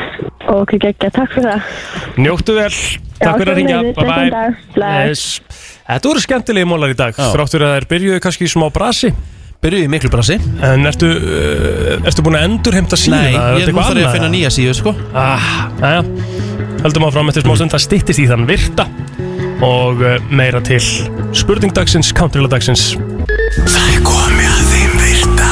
Ok, geggja, takk fyrir það.
Njóttu vel, takk fyrir að ringja
sömuleiðis,
Bye
góðan dag.
bye
Bless.
yes. Þetta voru skemmtilegi mólar í dag Þráttur að þær byrjuðu kannski í smá brasi
Byrjuðu í miklu brasi
En ertu, uh, ertu búin að endurheimta síðuna?
Nei,
Er þetta
ég, nú
eitthvað
þarf ég
annað?
að finna nýja síðu sko
ah, aðja. Höldum áfram eftir smá stund Það styttist í þann virta Og eh, meira til spurningdagsins, countryladagsins
Það er komið að þeim virta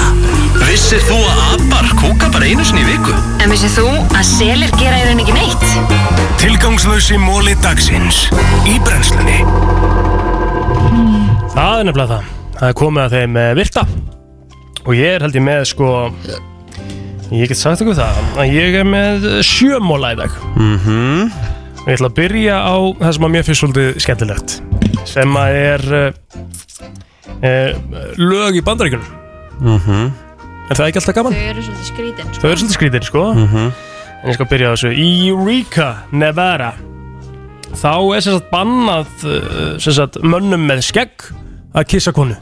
Vissir þú að abar kúka bara einu sinni í viku?
En vissið þú að selir gera í rauninni ekki neitt?
Tilgangslösi móli dagsins Í brennslunni
Það er nefnilega það Það er komið að þeim eh, virta Og ég er held ég með sko Ég get sagt okkur það að Ég er með eh, sjö móla í dag
Mhm
Ég ætla að byrja á það sem að mér finnst svolítið skemmtilegt Sem eh, að er uh, uh, Lög í bandaríkunum
Mhm
Er það ekki alltaf gaman?
Þau eru svolítið skrítin
Þau eru svolítið skrítir, sko
Mhm.
En ég skal byrja á þessu Eureka, Nevada Þá er sem sagt bannað uh, sem sagt, mönnum með skegg að kissa konu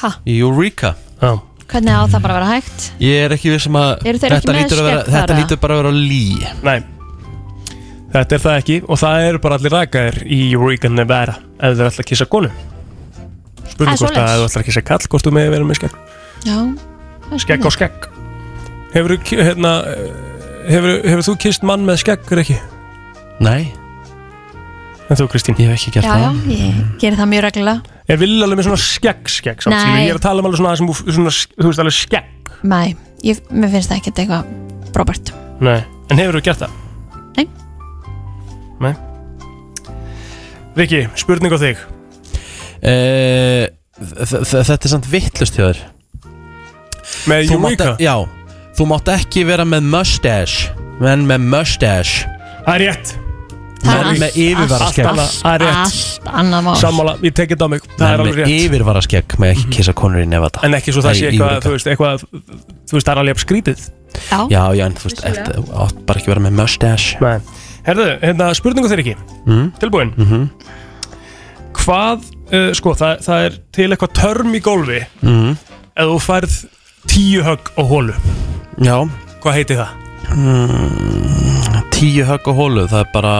Ha?
Eureka
Já
Hvernig á það bara að vera hægt?
Ég er ekki vissum að
Eru þeir ekki
þetta
með
lítur, að vera,
skegg þar,
þetta
eða?
lítur bara að vera lí
Nei Þetta er það ekki og það eru bara allir rakaðir í Eureka, Nevada ef þau ætla að kissa konu
Það er
Spurning hvort að
svoleiðis.
ef þú ætla að kissa kall hvort þú með vera með skegg
Já
Skegg á skegg Hefur, hérna, hefur, hefur þú kist mann með skegg, Rikki?
Nei
En þú, Kristín?
Ég hef ekki
Já, já, ég gerir það mjög reglulega
Ég vil alveg með svona skegg, skegg samt, skilur.
Nei.
Ég er að tala um alveg svona, svona, svona þú veist, alveg skegg
Nei, ég, mér finnst það ekkert eitthvað Robert
Nei. En hefur þú gert það?
Nei.
Nei Rikki, spurning á þig
Eh, þ- þ- Þetta er samt vittlust hjá þér
Með
Þú mátt- e-
Eureka?
Já, þú mátt ekki vera með mustache Menn með mustache
Það er rétt
Það er
Menn með
allt-
yfirvaraskegg
allt- allt-
Það er rétt.
Allt annað mál
Sammála, ég tekið það á mig Það er
Menn
alveg
með
rétt Mhm.
yfirvaraskegg Með ekki kissa konur í nefata
En ekki svo það sé eitthvað, þú veist, eitthvað Þú veist, það er alveg jafn skrítið
Já, já, en þú veist,
Vissulega.
eftir- þú átt bara ekki vera með mustache
Nei Herðu, hérna, spurning á þig, Rikki
mm?
Tilbúin
mm -hmm.
Hvað, uh, sko, það, það er til eitthvað törm í gólfi
Mhm.
Ef þú færð tíu högg á hólu
Já
Hvað heiti það?
mm, Tíu högg og hólu Það er bara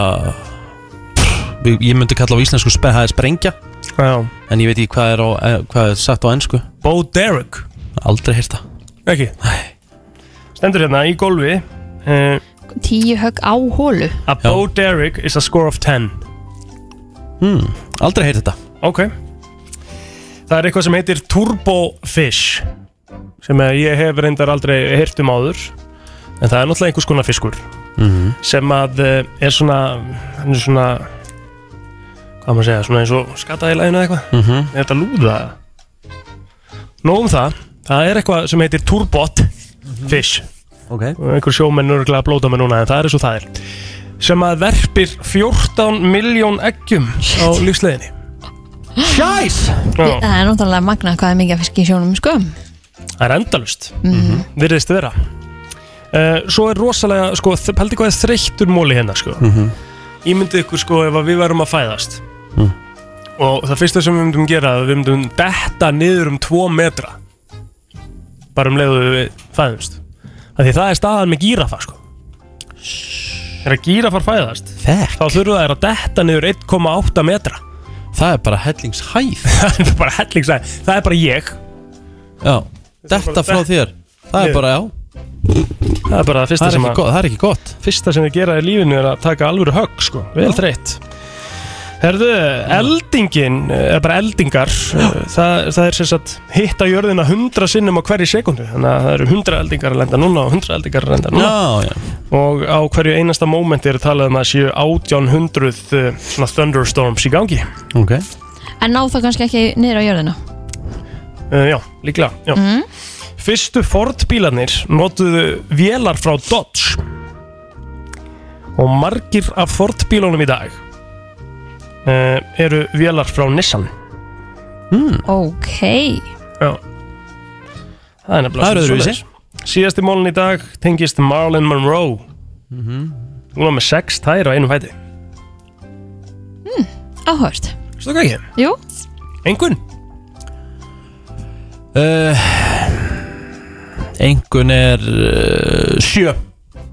Ég ég myndi kalla á íslensku spe- Það er sprengja
Já.
En ég veit ekki hvað er, á, eh, hvað er sagt á ennsku
Bo Derek
Aldrei hérta
Ekki?
Nei
Stendur hérna í gólfi uh,
Tíu högg á hólu
A Bo Derek is a score of 10
hmm, Aldrei heyrði þetta
Ok Það er eitthvað sem heitir Turbo Fish sem að ég hef reyndar aldrei heyrt um áður en það er náttúrulega einhvers konar fiskur
Mhm.
sem að eh, er svona hann er svona hvað á maður að segja, svona eins og skattaði læginu eitthvað
Mhm.
er þetta lúða Nóg um það, það er eitthvað sem heitir Turbot Fish
okay.
einhver sjómenn örgulega að blóta mig núna en það er eins og það er sem að verpir 14 miljón eggjum á lífsleginni Sjæs! Já.
Það er náttúrulega magna hvað er mikið að fisk í sjónum sko
Það er endalust
Mhm.
Virðist vera uh, Svo er rosalega, sko, þ- pældi hvað er þreyttur móli hérna, sko
Mhm.
Ímyndið ykkur, sko, ef að við værum að fæðast
Mm.
Og það fyrsta sem við myndum gera er að Við myndum detta niður um tvo metra Bara um leiðu við fæðumst Af Því það er staðan með gírafa, sko Þegar gírafar fæðast
Þekk.
Þá þurfa þær að detta niður 1,8 metra
Það er bara hellingshæð
Það er bara hellingshæð Það er bara ég
Já, Þetta frá þér Það er bara, já
Það er bara það fyrsta
Það er
sem
ekki
að
gott- það er ekki gott
Fyrsta sem þið gera í lífinu er að taka alvöru högg sko Vel þreytt Herðu, eldingin eða bara eldingar eh, það, það er sem sagt hitta jörðina 100 sinnum á hverju sekundu Þannig að það eru 100 eldingar að lenda núna og 100 eldingar að lenda núna
Já, já
Og á hverju einasta mómenti er talað um að séu 1800 eh, svona thunderstorms í gangi
Ok
En ná það kannski ekki niður á jörðina
uh, Já, líklega já. Fyrstu Ford bílarnir notuðu vélar frá Dodge og margir af Ford bílunum í dag uh, eru vélar frá Nissan
mm.
Ok
Já Það er
Það er
nefnilega svolítið
öðruvísi.
svoleiðis. Síðasti mólun í dag tengist Marilyn Monroe
Mhm.
Hún var með sex tæri á einum fæti
Áhört
Stökka ekki?
Jú
Engun?
uh, Engun er uh, sjö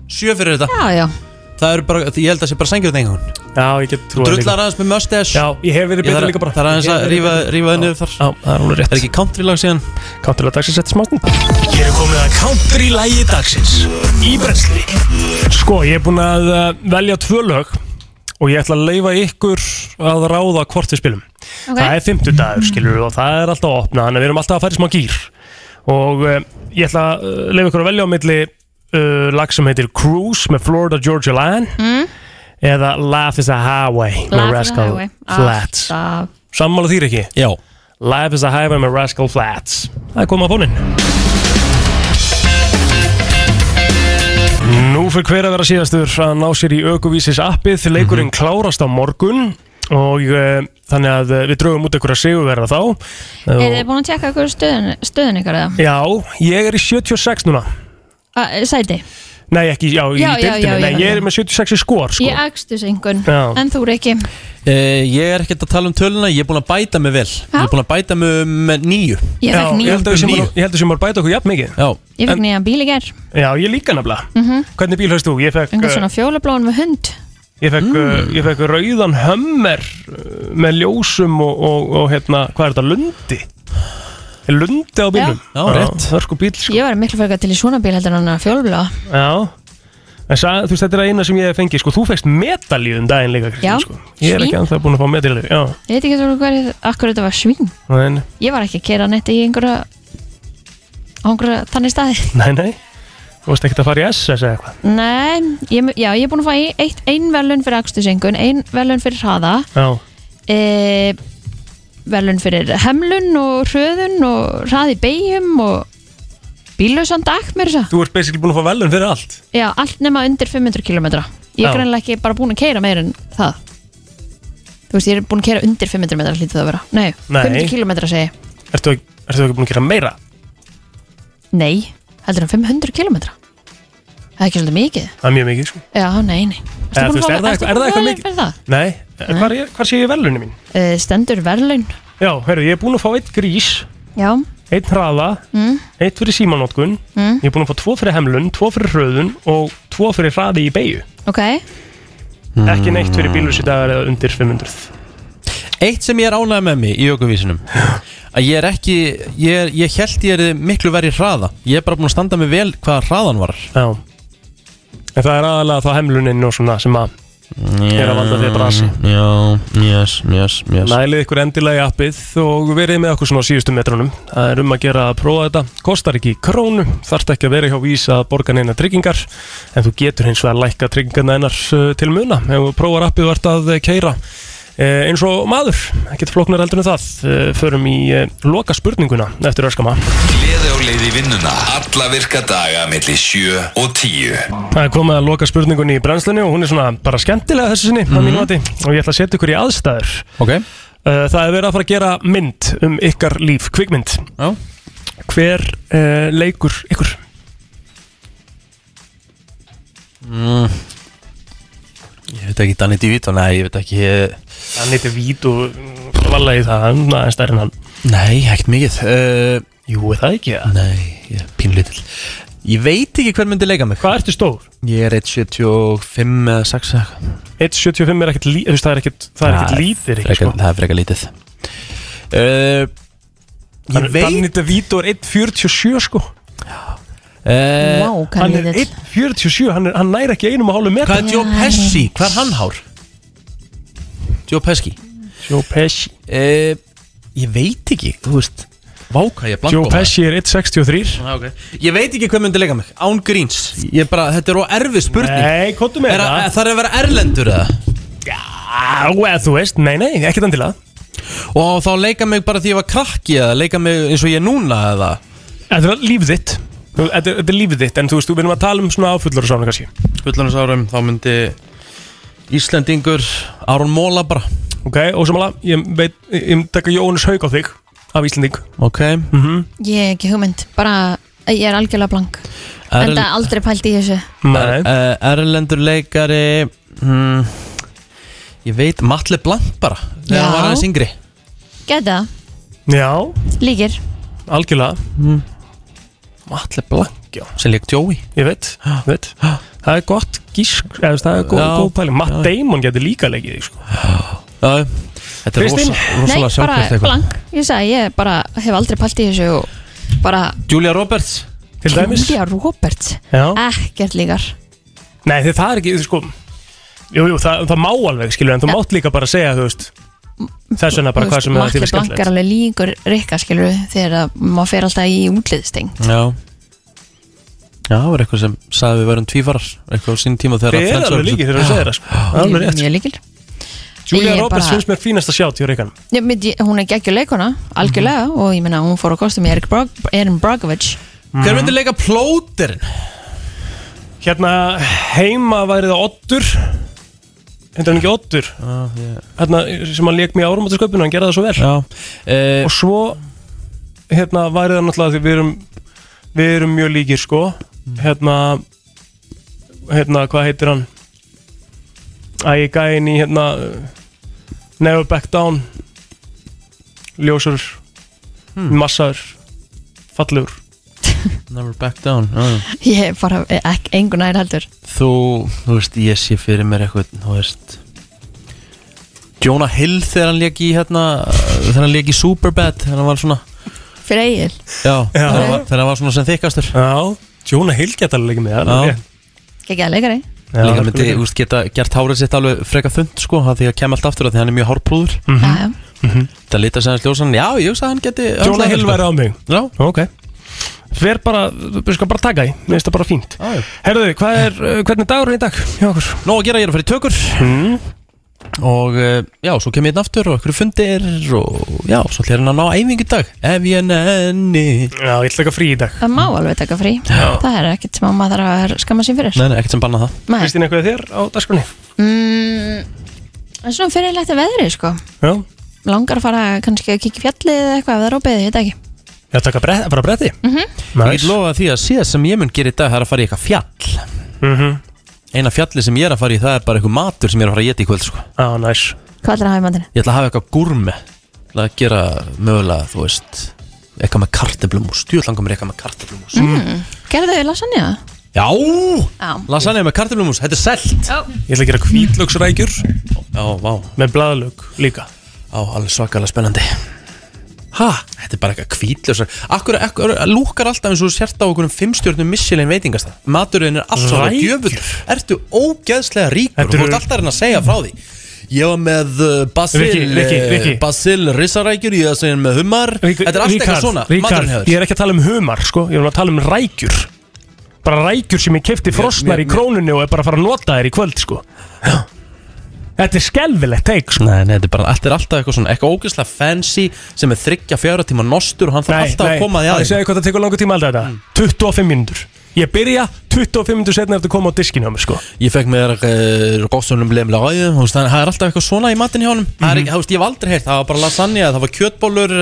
Sjö fyrir þetta
Já, já
Það eru bara, ég held að það sé bara sængjörð engun
Já, ég get trúið
Drullar aðeins með mustache
Já, ég hef
Ég
verið betur
þarf-
líka bara
þarf aðeins
Ég hef
að
verið
rífa-
betri.
rífa það
Já.
niður þar.
Já, það er alveg rétt
Er ekki country lag síðan?
Country lag dagsins eftir smátt
Hér er komið að country lægi dagsins Í brensli
Sko, ég er búinn að uh, velja tvö lög og ég ætla að leifa ykkur að ráða hvort við spilum
Ok.
Það er fimmtudagur, skilur og það er alltaf að opna, þannig að við erum alltaf að fara í smá gýr og uh, ég ætla að uh, leifa ykkur að velja á milli uh, lag sem heitir Cruise með Florida Georgia Line
Mm.
eða Life is a Highway með
Laugh is a
Rascal
highway. Ah,
Flats
Alltaf.
Sammála þýr ekki?
Já
Life is a Highway með Rascal Flats Það er komið að bónin Nú fyrir hver að vera Mhm. síðastur að ná sér í aukuvísis appið leikurinn klárast á morgun og uh, þannig að eh, við drögum út einhverja sigurverða þá
Er
Og-
þið búin að tjekka hverju stöðun, stöðun ykkar eða?
Já, ég er í 76 núna
A, eh, sæti?
Nei, ekki, já,
Já,
í
já,
deildinni
já, já,
Nei,
já.
ég er með 76 í skor sko.
Ég akstus einhvern,
Já.
en þú Riki
Eh, ég er ekkert að tala um töluna, ég er búin að bæta mig vel Ég er búin að bæta mig um nýju
Ég fékk Já, níu. Mhm.
ég held að við séum bara- ég held að sem var bæta okkur jafn mikið
Já,
Ég fekk
En-
nýjan bíl í ger
já ég líka nefnilega
mm -hmm.
Hvernig bíl höfst þú? Ég fekk,
Einhvern
eh,
svona fjólablón með hund
ég fekk, mm. ég fekk rauðan hömmer eh, með ljósum og, og, og hérna, hvað er þetta, lundi? Er Lundi á bílum?
Já. Já, rétt.
Hörku bíl, sko
Ég var miklu fyrir til í svona bíl heldur en að fjólablá
Já En sa, þú veist, þetta er að eina sem ég hef fengið, sko, þú fegst medalju um daginn líka,
Já,
Kristín, sko. Ég er
svín.
ekki anþá búin að fá medalju, já.
Ég veit ekki svona hverju, akkur þetta var svín
En,
Ég var ekki að kera neitt í einhverja á einhverja þannig staði
nei, nei, þú veist ekki að fara í SS eða eitthvað.
Nei, ég, mun- já, ég er búin að fá í- eitt, ein velun fyrir akstusengun, ein velun fyrir hraða
Já,
e, velun fyrir hemlun og hröðun og hraði beigjum og bílausan dag mér þess að
þú ert basically búin að fá velun fyrir allt.
Já, allt nema undir 500 km Ég
Já.
er greinlega ekki bara búin að keira meir en það Þú veist, ég er búin að keira undir 500 metrar hlítið það að vera Nei,
Nei.
500 km segi ég.
Ertu, ekki- ertu ekki búin að gera meira?
Nei, heldur en 500 km Það er ekki svolítið mikið
Það er mjög mikið, sko.
Já, nei, nei Ertu
Eða,
búin
þú
að
veist,
fá-
er það
ertu búin
eitthvað- er það
að fá
eitthvað
verðlaun
mikið?
fyrir það?
Nei, hvað, er, hvað sé ég velunni mín?
Eh, Stendur verðlaun
Já, herru, ég er búin að fá eitt grís,
Já,
eitt hraða,
mm,
eitt fyrir símanótkun,
Mm.
ég er búin að fá tvo fyrir hemlun, tvo fyrir hröðun og tvo fyrir hraði í beigju.
ok
Eh, Ekki neitt fyrir bílursi dagar eða undir 500.
Eitt sem ég er ánægð með mig í aukuvísinum Að ég er ekki, ég, er, ég held ég er miklu verið hraða Ég er bara búin að standa mig vel hvað hraðan var
Já En það er aðalega þá hemlunin og svona sem að er að valda þér brasi
Já, yes, yes, yes
Nælið ykkur endilega í appið og verið með okkur svona á síðustu metrunum Það er um að gera að prófa þetta Kostar ekki krónu, þarft ekki að vera hjá vísa að borga neina tryggingar En þú getur hins vegar að lækka tryggingarna hennar uh, til muna Ef þú prófar appið og ert að keira eins og maður, ekkert flóknar eldur en það Eh, Förum í eh, loka spurninguna eftir öskama
Gleði á leið í vinnuna Alla virka daga millir 7 og 10
Það er komið að loka spurningunni í brennslunni og hún er svona bara skemmtilega þessu sinni mm
Mhm.
-hmm. og ég ætla að setja ykkur í aðstæður Eh,
okay.
Það er verið að fara að gera mynd um ykkar líf, kvikmynd
Já.
Hver uh, leikur ykkur?
mm. Ég veit ekki Danny DeVito, nei, ég veit ekki
Hann heitir Vít og valagi það, hann er stærri en hann
Nei, ekkert mikið uh,
Jú, er það ekki?
Nei, ég er pínlítil Ég veit ekki hver myndi leika mig
Hvað ertu stór?
Ég er 1.75 eða 6 eða eitthvað
1.75 er ekkert lítið, það er ekkert, það er ekkert lítir ekki,
frekar-
sko.
Það er frekar lítið uh, Ég veit
Danny DeVito er 1.47 sko
Eh,
Vá,
hvað
Hann er
lítill.
1.47, hann, er- hann næri ekki einum að hálfu metra
Hvað er Joe Pesci? Hvað er hann hár? Joe Pesci
Joe Pesci
eh, Ég veit ekki, þú veist Váka ég er blanko
Joe Pesci er 1.63
ah, okay. Ég veit ekki hvað myndi leika mig Án gríns Ég bara, þetta er ó erfið spurning
Nei, komdu með
Er að-
það.
Þarf að vera erlendur eða?
Já, eða þú veist, nei, nei, ekkert endilega
Og þá leika mig bara því ég var krakki Eða leika mig eins og ég er núna eða
Þetta er líf þitt Þú- Þetta er- þetta er lífið þitt, en þú veist, við erum að tala um svona áfullur og svona kannski
Fullanars árum, þá myndi Íslendingur Aron Móla bara
Ok, og samanlega, ég veit, ég ég mun taka Jónus Haug á þig Af Íslending
Ok mm
-hmm.
ég hef ekki hugmynd Bara, eh, ég er algjörlega blank
Erl-
Enda aldrei pælt í þessu
Nei
er, eh, Erlendur leikari hmm, Ég veit Matle Blank bara Þegar hann
Já.
var aðeins yngri
Geta, það,
Já,
líkir
algjörlega
mm. Matle Blank
já.
Sem leik Joey
Ég veit, ég veit Það er gott gísk, eða þú veist, það er góð,
Já.
góð pæling Matt Damon getur líka leikið þig, sko
Já, Þetta er
Kristín?
rosa, rosalega
Nei, bara
sjálfkvæmt eitthvað
blank Ég sagði, ég bara hef aldrei pælt í þessu og bara
Julia Roberts
Til dæmis
Julia Roberts
Já.
Ekkert líkar
Nei, því það er ekki, sko Jú, jú, það, það má alveg, skilur, en þú mátt líka bara segja, þú veist Þess vegna bara hvað sem er
Matli
þér
Blank er alveg líkur Rikka skilur þegar að maður fer alltaf í útliðsteng
Já Já, það var eitthvað sem sagði við verðum tvífarar Eitthvað á sín tíma þegar
Þið eru
Friends
alveg
var-
líkir þegar þú segir það, sko.
Já.
Alveg rétt,
Mjög líkir
Julia
Ég
Roberts
bara-
finnst mér fínast að sjá til Ríkan
Já, mynd ég- Hún er geggjur leikona, algjörlega
Mhm.
og ég meina hún fór á kostum í Erik Brog Erin Brogovich
Hver myndi leika plóterinn?
Hérna heima væri það Oddur heitir hann ekki Oddur hérna, sem hann leik mér áramótasköpun hann gerði það svo vel
og
svo hérna væri það náttúrulega því við erum við erum mjög líkir sko hérna hérna hvað heitir hann ægi gæin í hérna Never Back Down ljósur
Hmm.
massaður fallegur
Never back down já, já.
Ég er bara eh, ekki engu nær heldur
Þú, þú veist, ég sé fyrir mér eitthvað Þú veist Jonah Hill þegar hann lék í hérna Þegar hann lék í Superbad Þegar hann var svona
Fyrir Egil
Já, Þegar, hann var, þegar hann var svona sem þykastur
Já, Jonah Hill geta alveg með
það alveg.
Ekki að leikari
Já,
Líka
alveg
myndi,
rétt.
úst, geta gert hárið sitt alveg freka þund sko, af Því að kem allt aftur af því að hann er mjög hárprúður
Já,
Það lita sem hans um ljósan Já, ég hugsa að hann geti
Jonah Hill væri á mig
Já,
ok Fer bara, við skal bara taka því, mér finnst það bara fínt
Já, já.
Herðu, hvað er, uh, hvernig er dagurinn í dag hjá okkur?
Nó að gera, ég er að fara í tökur
mm.
Og eh, já, svo kem ég einn aftur og einhverju fundir Og já, svo ætlir hann að ná æfingu í dag Ef ég nenni
Já, ég ætla ekki frí í dag
það má alveg taka frí
Já.
Það er ekkert sem að maður þarf að skamma sér fyrir
Nei, nei, ekkert sem banna það
Nei.
Kristín, eitthvað þér á dagskrunni?
Mm, Það er svona fyrirlegt að veðri sko
Já
Langar að fara kannski að kíkja í fjallið eða eitthvað ef það er opið, ég veit ekki
Já, taka brett, bara bretti
mm
Ég get lofa því að síðan sem ég mun gera í dag Það er að fara í eitthvað fjall
mm -hmm.
Eina fjalli sem ég er að fara í það er bara eitthvað matur sem ég er að fara að geta í kvöld sko.
Já, ah, næs
Hvað er að hafa í mandinu?
Ég ætla að hafa eitthvað gúrme Ég ætla að gera mögulega, þú veist Eitthvað með karteblumús, djúið langar mér í eitthvað með karteblumús
Mm. Gerðu þau lasagna?
Já,
Já
lasagna með karteblumús, þetta er selt
Já.
Ég ætla að gera kvítlöksrækjur
Já, vá
Með blaðlög líka
Já, alveg svakalega spennandi Ha, þetta er bara eitthvað kvítlösa Akkur, akkur lúkar alltaf eins og þú sért á okkur um fimmstjörnum missilin veitingastað Maturinn er alltaf að
Rækjur?
gjöfull Ertu ógeðslega ríkur
Þetta
og Þú ert
eru-
alltaf að reyna að segja frá því Ég var með uh, Basil
Rikki, Rikki,
eh,
Rikki.
Basil risarækjur, ég var að segja með humar Þetta er alltaf
Ríkharð,
eitthvað svona
Ríkharð,
Maturinn hefur
Ég er ekki að tala um humar, sko Ég er að tala um rækjur Bara rækjur sem ég kefti frosnar
mér-
í krónunni og er bara að fara að nota þér í kvöld, sko Þetta er skelfilegt teik, sko
Nei, nei, þetta er bara Þetta er alltaf eitthvað svona Eitthvað ógeðslega fancy Sem er þryggja fjára tíma nostur Og hann þarf alltaf að Mm. koma því
að ég
aðeins
segi hvað það tekur langur tíma alltaf þetta 25 mínútur Ég byrja 25 mínútur setna eftir að koma á diskinu á mig, sko
Ég fekk mér uh, góðstunum lemlega ræðu þú veist, þannig að Það er alltaf eitthvað svona í matin hjá honum Það er ekki, þú veist, ég hef aldrei heyrt Það var bara lasagna, það var kjötbólur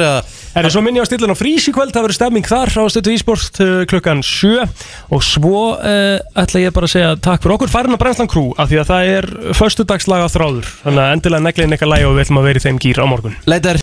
Er það svo minni á stillan á frís í kvöld, það verður stemming þar á stötu ísport uh, klukkan 7 og svo uh, ætla ég bara að segja takk fyrir okkur farin að brennslan krú af því að það er föstudagslaga þráður þannig að endilega negliðin eitthvað lægi og við ætlum að vera í þeim gýr á morgun
Leitar